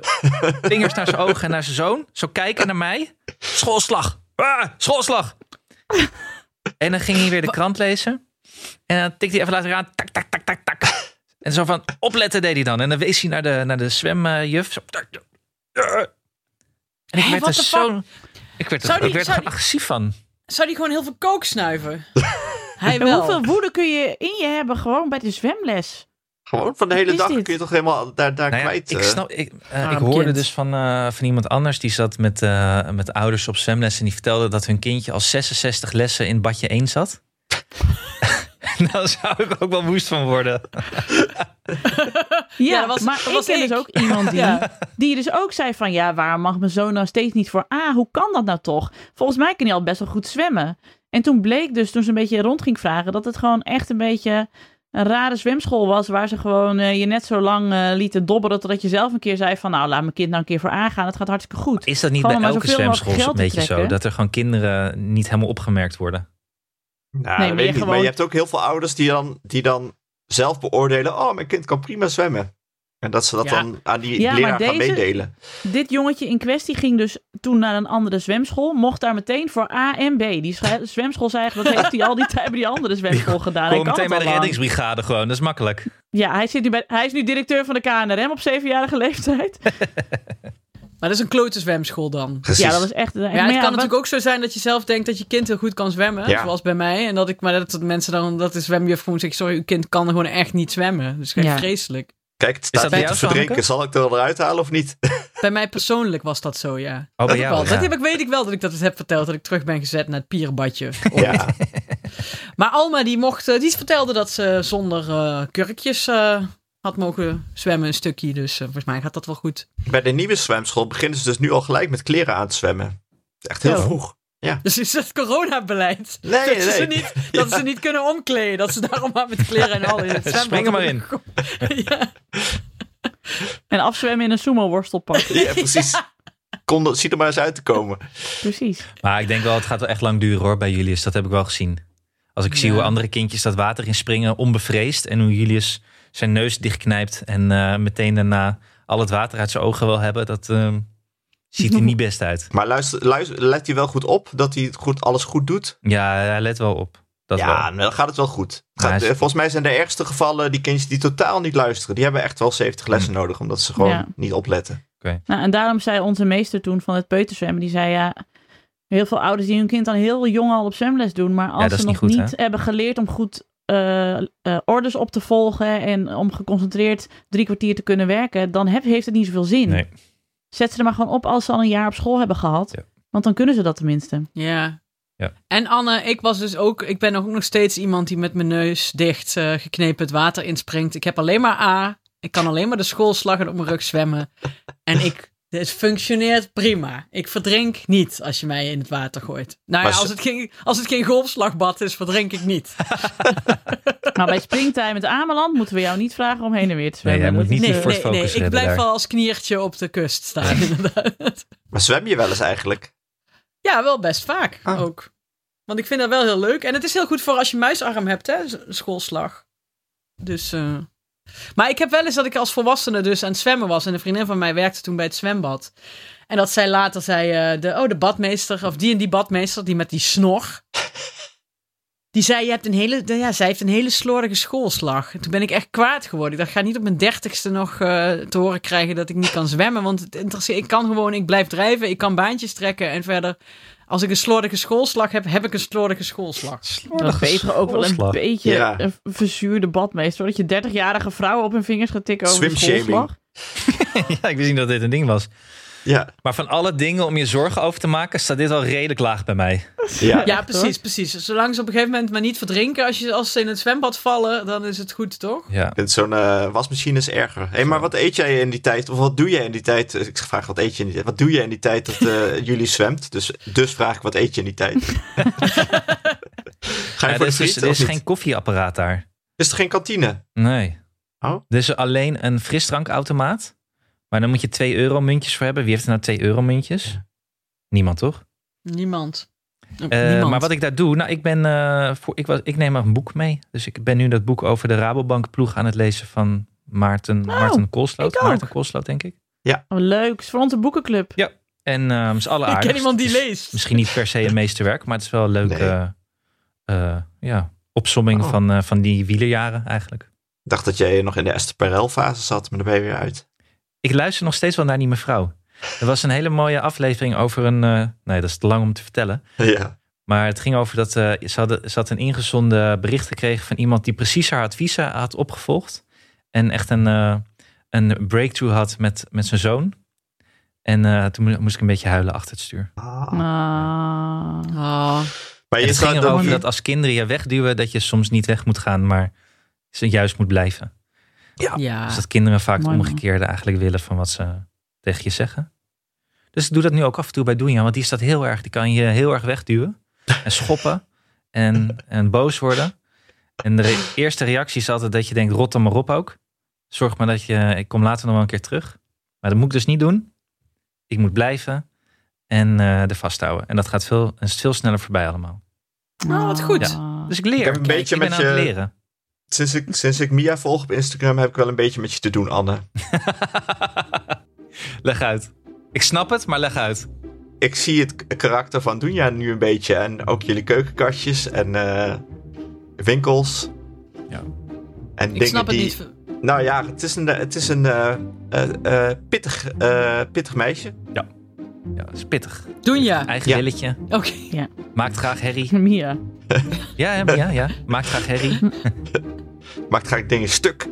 Speaker 1: vingers naar zijn ogen en naar zijn zoon. Zo kijken naar mij. Schoolslag. Ah, schoolslag. En dan ging hij weer de krant lezen. En dan tikte hij even later aan. Tak, tak, tak, tak, tak. En zo van opletten deed hij dan. En dan wees hij naar de, naar de zwemjuf. Zo, tak, tak, tak. En ik
Speaker 4: Hè,
Speaker 1: werd
Speaker 4: what
Speaker 1: er
Speaker 4: the fuck?
Speaker 1: zo... Ik werd er,
Speaker 4: Zou die-
Speaker 1: ik werd er
Speaker 4: zou die-
Speaker 1: agressief van.
Speaker 4: Zou die gewoon heel veel kook snuiven? Hij
Speaker 3: En
Speaker 4: wel.
Speaker 3: hoeveel woede kun je in je hebben gewoon bij de zwemles?
Speaker 2: Gewoon van de hele
Speaker 3: Is
Speaker 2: dag
Speaker 3: dit?
Speaker 2: kun je toch helemaal daar, daar
Speaker 1: Nou ja,
Speaker 2: kwijt.
Speaker 1: ik,
Speaker 2: eh.
Speaker 1: snap, ik, eh,
Speaker 3: Arm
Speaker 1: ik hoorde
Speaker 3: kind.
Speaker 1: dus van, eh, van iemand anders die zat met, eh, met ouders op zwemles en die vertelde dat hun kindje al 66 lessen in badje 1 zat. Daar zou ik ook wel woest van worden.
Speaker 3: Ja,
Speaker 4: dat was-
Speaker 3: maar
Speaker 4: dat
Speaker 3: ik
Speaker 4: was
Speaker 3: ken
Speaker 4: ik.
Speaker 3: dus ook iemand die,
Speaker 4: Ja.
Speaker 3: die dus ook zei van... ja, waarom mag mijn zoon nou steeds niet voor A? Hoe kan dat nou toch? Volgens mij kan hij al best wel goed zwemmen. En toen bleek dus, toen ze een beetje rond ging vragen... dat het gewoon echt een beetje een rare zwemschool was... waar ze gewoon eh, je net zo lang eh, lieten dobberen... totdat je zelf een keer zei van... nou, laat mijn kind nou een keer voor A gaan. Het gaat hartstikke goed.
Speaker 1: Is dat niet
Speaker 3: Gewoon om
Speaker 1: bij
Speaker 3: maar
Speaker 1: elke
Speaker 3: zoveel mogelijk
Speaker 1: zwemschool
Speaker 3: geld
Speaker 1: een
Speaker 3: te
Speaker 1: beetje zo?
Speaker 3: trekken?
Speaker 1: Dat er gewoon kinderen niet helemaal opgemerkt worden.
Speaker 2: Nou, dat
Speaker 3: Nee, maar
Speaker 2: weet ik
Speaker 3: je
Speaker 2: niet. Maar
Speaker 3: gewoon-
Speaker 2: je hebt ook heel veel ouders die dan, die dan zelf beoordelen: oh, mijn kind kan prima zwemmen. En dat ze dat
Speaker 4: Ja.
Speaker 2: dan aan die
Speaker 3: Ja, maar
Speaker 2: leraar gaan
Speaker 3: deze-
Speaker 2: meedelen.
Speaker 3: Dit jongetje in kwestie ging dus toen naar een andere zwemschool. Mocht daar meteen voor A en B. Die schu- zwemschool zei eigenlijk, dat heeft hij al die tijd bij die andere zwemschool gedaan. Hij
Speaker 1: Kom
Speaker 3: kan
Speaker 1: meteen
Speaker 3: het
Speaker 1: bij
Speaker 3: al
Speaker 1: de
Speaker 3: lang.
Speaker 1: reddingsbrigade gewoon, dat is makkelijk. Oh,
Speaker 3: Ja, hij, zit nu bij, hij is nu directeur van de KNRM op zevenjarige leeftijd.
Speaker 4: Maar dat is een klote zwemschool dan.
Speaker 2: Precies.
Speaker 3: Ja, dat is echt...
Speaker 4: Ja, het kan natuurlijk ook zo zijn dat je zelf denkt dat je kind heel goed kan zwemmen,
Speaker 2: Ja.
Speaker 4: zoals bij mij. En dat ik, maar dat, dat mensen dan, dat de zwemjuf gewoon zegt, sorry, uw kind kan gewoon echt niet zwemmen. Dus echt
Speaker 3: Ja.
Speaker 4: vreselijk.
Speaker 2: Kijk, het staat
Speaker 1: dat bij
Speaker 2: niet te
Speaker 1: jou,
Speaker 2: verdrinken.
Speaker 1: Hanneke?
Speaker 2: Zal ik er wel eruit halen of niet?
Speaker 4: Bij mij persoonlijk was dat zo, ja.
Speaker 1: Oh, bij
Speaker 4: Dat,
Speaker 1: jou,
Speaker 4: wel.
Speaker 1: ja.
Speaker 4: dat heb ik, weet ik wel dat ik dat eens heb verteld, dat ik terug ben gezet naar het pierbadje.
Speaker 3: Oh.
Speaker 2: Ja.
Speaker 4: Maar Alma die mocht, eh, die vertelde dat ze zonder eh, kurkjes eh, had mogen zwemmen een stukje. Dus eh, volgens mij gaat dat wel goed.
Speaker 2: Bij de nieuwe zwemschool beginnen ze dus nu al gelijk met kleren aan te zwemmen. Echt heel
Speaker 3: Oh.
Speaker 2: vroeg.
Speaker 4: Dus is het coronabeleid.
Speaker 2: Nee,
Speaker 4: dat ze
Speaker 2: nee.
Speaker 4: ze niet, dat ze niet kunnen omkleden. Dat ze daarom maar met kleren en al in het zwembad.
Speaker 1: Spring er maar in.
Speaker 4: ja.
Speaker 3: En afzwemmen in een sumo-worstelpak.
Speaker 2: Ja, precies. Kon dat, zie er maar eens uit te komen.
Speaker 3: Precies.
Speaker 1: Maar ik denk wel, het gaat wel echt lang duren hoor bij Julius. Dat heb ik wel gezien. Als ik zie
Speaker 4: Ja.
Speaker 1: hoe andere kindjes dat water in springen, onbevreesd. En hoe Julius zijn neus dichtknijpt en eh, meteen daarna al het water uit zijn ogen wil hebben. Dat ehm, ziet er niet best uit.
Speaker 2: Maar luister, luister, let je wel goed op dat hij het goed, alles goed doet?
Speaker 1: Ja, hij let wel op. Dat
Speaker 2: ja,
Speaker 1: wel.
Speaker 2: nou, dan gaat het wel goed. Het
Speaker 1: Maar
Speaker 2: gaat-
Speaker 1: hij is-
Speaker 2: eh, volgens mij zijn de ergste gevallen die kindjes die totaal niet luisteren. Die hebben echt wel 70 lessen
Speaker 1: Mm.
Speaker 2: nodig, omdat ze gewoon
Speaker 3: Ja.
Speaker 2: niet opletten.
Speaker 3: Nou, en daarom zei onze meester toen van het peuterzwemmen, die zei ja... Heel veel ouders die hun kind dan heel jong al op zwemles doen, maar als
Speaker 1: dat is
Speaker 3: ze
Speaker 1: niet
Speaker 3: nog
Speaker 1: goed,
Speaker 3: niet hebben geleerd om goed eh, eh, orders op te volgen en om geconcentreerd drie kwartier te kunnen werken, dan heb- heeft het niet zoveel zin.
Speaker 1: Nee.
Speaker 3: Zet ze er maar gewoon op als ze al een jaar op school hebben gehad,
Speaker 1: Ja.
Speaker 3: want dan kunnen ze dat tenminste.
Speaker 4: Ja.
Speaker 1: Ja.
Speaker 4: En Anne, ik was dus ook, ik ben ook nog steeds iemand die met mijn neus dicht eh, geknepen het water inspringt. Ik heb alleen maar A. Ik kan alleen maar de schoolslag en op mijn rug zwemmen. En ik, het functioneert prima. Ik verdrink niet als je mij in het water gooit. Nou ja,
Speaker 2: Maar ze-
Speaker 4: als het, geen, als het geen golfslagbad is, verdrink ik niet.
Speaker 3: Maar Nou, bij springtime met Ameland moeten we jou niet vragen om heen en weer te
Speaker 1: Nee,
Speaker 3: zwemmen.
Speaker 1: hij moet
Speaker 3: Dat
Speaker 1: niet
Speaker 3: is,
Speaker 1: die
Speaker 3: eh,
Speaker 1: voor het
Speaker 4: nee,
Speaker 1: focus
Speaker 4: ik
Speaker 1: redden
Speaker 4: blijf
Speaker 1: daar.
Speaker 4: wel als kniertje op de kust staan, inderdaad.
Speaker 2: Maar zwem je wel eens eigenlijk?
Speaker 4: Ja, wel best vaak
Speaker 2: Ah.
Speaker 4: ook. Want ik vind dat wel heel leuk. En het is heel goed voor als je muisarm hebt, hè, z- schoolslag. Dus. eh, Maar ik heb wel eens dat ik als volwassene dus aan het zwemmen was. En een vriendin van mij werkte toen bij het zwembad. En dat zij later zei, eh, de, oh, de badmeester, of die en die badmeester, die met die snor. Die zei, je hebt een hele, de- ja, zij heeft een hele slordige schoolslag. En toen ben ik echt kwaad geworden. Ik dacht, ik ga niet op mijn dertigste nog eh, te horen krijgen dat ik niet kan zwemmen. Want het interesseert, ik kan gewoon, ik blijf drijven, ik kan baantjes trekken. En verder, als ik een slordige schoolslag heb, heb ik een slordige schoolslag.
Speaker 3: Dan ben je toch ook wel een
Speaker 1: schoolslag.
Speaker 3: beetje
Speaker 2: Ja.
Speaker 3: een verzuurde badmeester. hoor. Dat je 30-jarige vrouwen op hun vingers gaat tikken over de
Speaker 2: Swimshaming.
Speaker 3: schoolslag.
Speaker 1: ja, ik wist niet dat dit een ding was.
Speaker 2: Ja.
Speaker 1: Maar van alle dingen om je zorgen over te maken, staat dit wel redelijk laag bij mij.
Speaker 2: Ja.
Speaker 4: Ja,
Speaker 3: Echt, hoor.
Speaker 4: precies, precies. Dus Zolang ze op een gegeven moment maar niet verdrinken. Als, je, als ze in het zwembad vallen, dan is het goed, toch?
Speaker 1: Ja.
Speaker 2: Ik vind Zo'n eh, wasmachine is erger. Hé, maar wat eet jij in die tijd? Of wat doe jij in die tijd? Eh, Ik vraag, wat eet je in die tijd? Wat doe jij in die tijd dat eh, jullie zwemt? Dus, dus vraag ik, wat eet je in die tijd? Ga je
Speaker 1: Ja,
Speaker 2: voor
Speaker 1: er
Speaker 2: de
Speaker 1: is, dus-
Speaker 2: friet,
Speaker 1: er
Speaker 2: of
Speaker 1: is
Speaker 2: niet?
Speaker 1: geen koffieapparaat daar.
Speaker 2: Is er geen kantine?
Speaker 1: Nee.
Speaker 2: Oh.
Speaker 1: Dus alleen een frisdrankautomaat. Maar dan moet je 2 euro muntjes voor hebben. Wie heeft er nou 2 euro muntjes? Niemand toch?
Speaker 4: Niemand. Oh,
Speaker 1: Eh,
Speaker 4: niemand.
Speaker 1: maar wat ik daar doe, nou, ik, ben, eh, voor, ik, was, ik neem een boek mee. Dus ik ben nu dat boek over de Rabobank ploeg aan het lezen van Maarten, Maarten Koolsloot.
Speaker 3: ik ook.
Speaker 1: Maarten Koolsloot, denk ik.
Speaker 3: Oh, leuk. Voor onze boekenclub.
Speaker 1: En ehm is alle
Speaker 4: Ik
Speaker 1: aardig.
Speaker 4: ken iemand die
Speaker 1: Dus
Speaker 4: leest.
Speaker 1: Misschien niet per se een meesterwerk, maar het is wel een leuke eh, eh, ja, opsomming
Speaker 2: Oh.
Speaker 1: van, eh, van die wielerjaren eigenlijk.
Speaker 2: Ik dacht dat jij nog in de Esther Perel fase zat, maar daar ben je weer uit.
Speaker 1: Ik luister nog steeds wel naar die mevrouw. Er was een hele mooie aflevering over een... eh, nee, dat is te lang om te vertellen.
Speaker 2: Ja.
Speaker 1: Maar het ging over dat eh, ze, hadden, ze had een ingezonde bericht gekregen van iemand die precies haar adviezen had opgevolgd. En echt een, eh, een breakthrough had met, met zijn zoon. En eh, toen mo- moest ik een beetje huilen achter het stuur.
Speaker 2: Ah.
Speaker 3: Ah.
Speaker 4: Oh.
Speaker 2: Maar
Speaker 1: En
Speaker 2: je
Speaker 1: het
Speaker 2: zou
Speaker 1: ging
Speaker 2: dan
Speaker 1: erover
Speaker 2: niet...
Speaker 1: dat als kinderen je wegduwen, dat je soms niet weg moet gaan, maar ze juist moet blijven.
Speaker 4: Ja.
Speaker 1: Dus dat kinderen vaak het
Speaker 3: Mooi, man.
Speaker 1: omgekeerde eigenlijk willen van wat ze tegen je zeggen. Dus ik doe dat nu ook af en toe bij Doenja, want die is dat heel erg. Die kan je heel erg wegduwen en schoppen en, en boos worden. En de re- eerste reactie is altijd dat je denkt, rot dan maar op ook. Zorg maar dat je, ik kom later nog wel een keer terug. Maar dat moet ik dus niet doen. Ik moet blijven en eh er vasthouden. En dat gaat veel, en is veel sneller voorbij allemaal.
Speaker 4: Oh,
Speaker 3: nou.
Speaker 4: wat goed.
Speaker 1: Dus ik leer.
Speaker 2: Ik heb een
Speaker 1: Kijk,
Speaker 2: beetje
Speaker 1: ik ben
Speaker 2: met
Speaker 1: aan het
Speaker 2: je-
Speaker 1: leren.
Speaker 2: Sinds ik, sinds ik Mia volg op Instagram heb ik wel een beetje met je te doen, Anne.
Speaker 1: leg uit. Ik snap het, maar leg uit.
Speaker 2: Ik zie het k- karakter van Dunja nu een beetje. En ook jullie keukenkastjes en eh, winkels.
Speaker 1: Ja.
Speaker 2: En
Speaker 4: Ik
Speaker 2: dingen
Speaker 4: snap het
Speaker 2: die...
Speaker 4: niet.
Speaker 2: Nou ja, het is een, het is een eh, eh, eh, pittig, eh, pittig meisje.
Speaker 1: Ja, dat is pittig.
Speaker 4: Doen ja.
Speaker 1: Eigen
Speaker 2: Ja.
Speaker 1: willetje.
Speaker 4: Oké.
Speaker 1: Maakt graag herrie.
Speaker 3: Mia.
Speaker 1: Ja, ja, ja. ja. Maakt graag herrie.
Speaker 2: Maakt graag dingen stuk.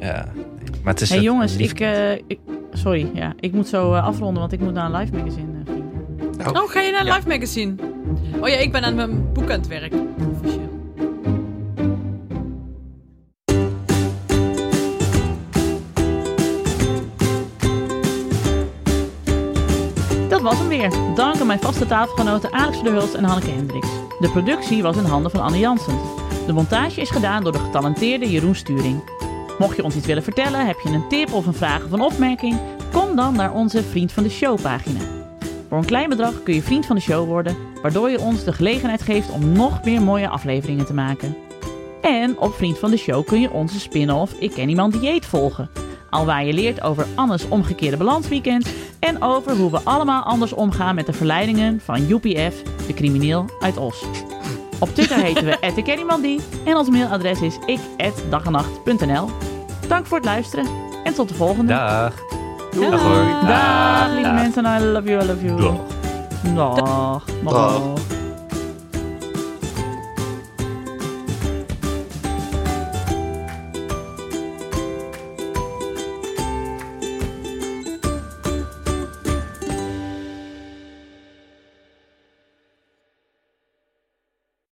Speaker 1: Ja. nee, Maar het is
Speaker 3: Hé hey,
Speaker 1: een
Speaker 3: jongens,
Speaker 1: lief
Speaker 3: ik,
Speaker 1: kind.
Speaker 3: eh, ik... Sorry, ja. Ik moet zo eh, afronden, want ik moet naar een live magazine. eh, vrienden.
Speaker 4: Oh, ga je naar
Speaker 1: Ja.
Speaker 4: Live Magazine? Oh ja, ik ben aan mijn boek aan het werk. Officieel.
Speaker 3: Dat was hem weer. Dank aan mijn vaste tafelgenoten Alex van der Hulst en Hanneke Hendricks. De productie was in handen van Anne Jansen. De montage is gedaan door de getalenteerde Jeroen Sturing. Mocht je ons iets willen vertellen, heb je een tip of een vraag of een opmerking, kom dan naar onze Vriend van de Show pagina. Voor een klein bedrag kun je Vriend van de Show worden, waardoor je ons de gelegenheid geeft om nog meer mooie afleveringen te maken. En op Vriend van de Show kun je onze spin-off Ik Ken Iemand Dieet volgen. Alwaar je leert over Annes omgekeerde balansweekend en over hoe we allemaal anders omgaan met de verleidingen van UPF, de crimineel uit Os. Op Twitter heten we @ikkenniemandie en ons mailadres is ik@dagenacht.nl. Dank voor het luisteren en tot de volgende.
Speaker 1: Dag.
Speaker 3: Doei.
Speaker 1: Dag hoor.
Speaker 3: Dag, lieve
Speaker 1: Dag.
Speaker 3: mensen. I love you, I love you.
Speaker 1: Dag.
Speaker 3: Dag. Dag.
Speaker 2: Dag.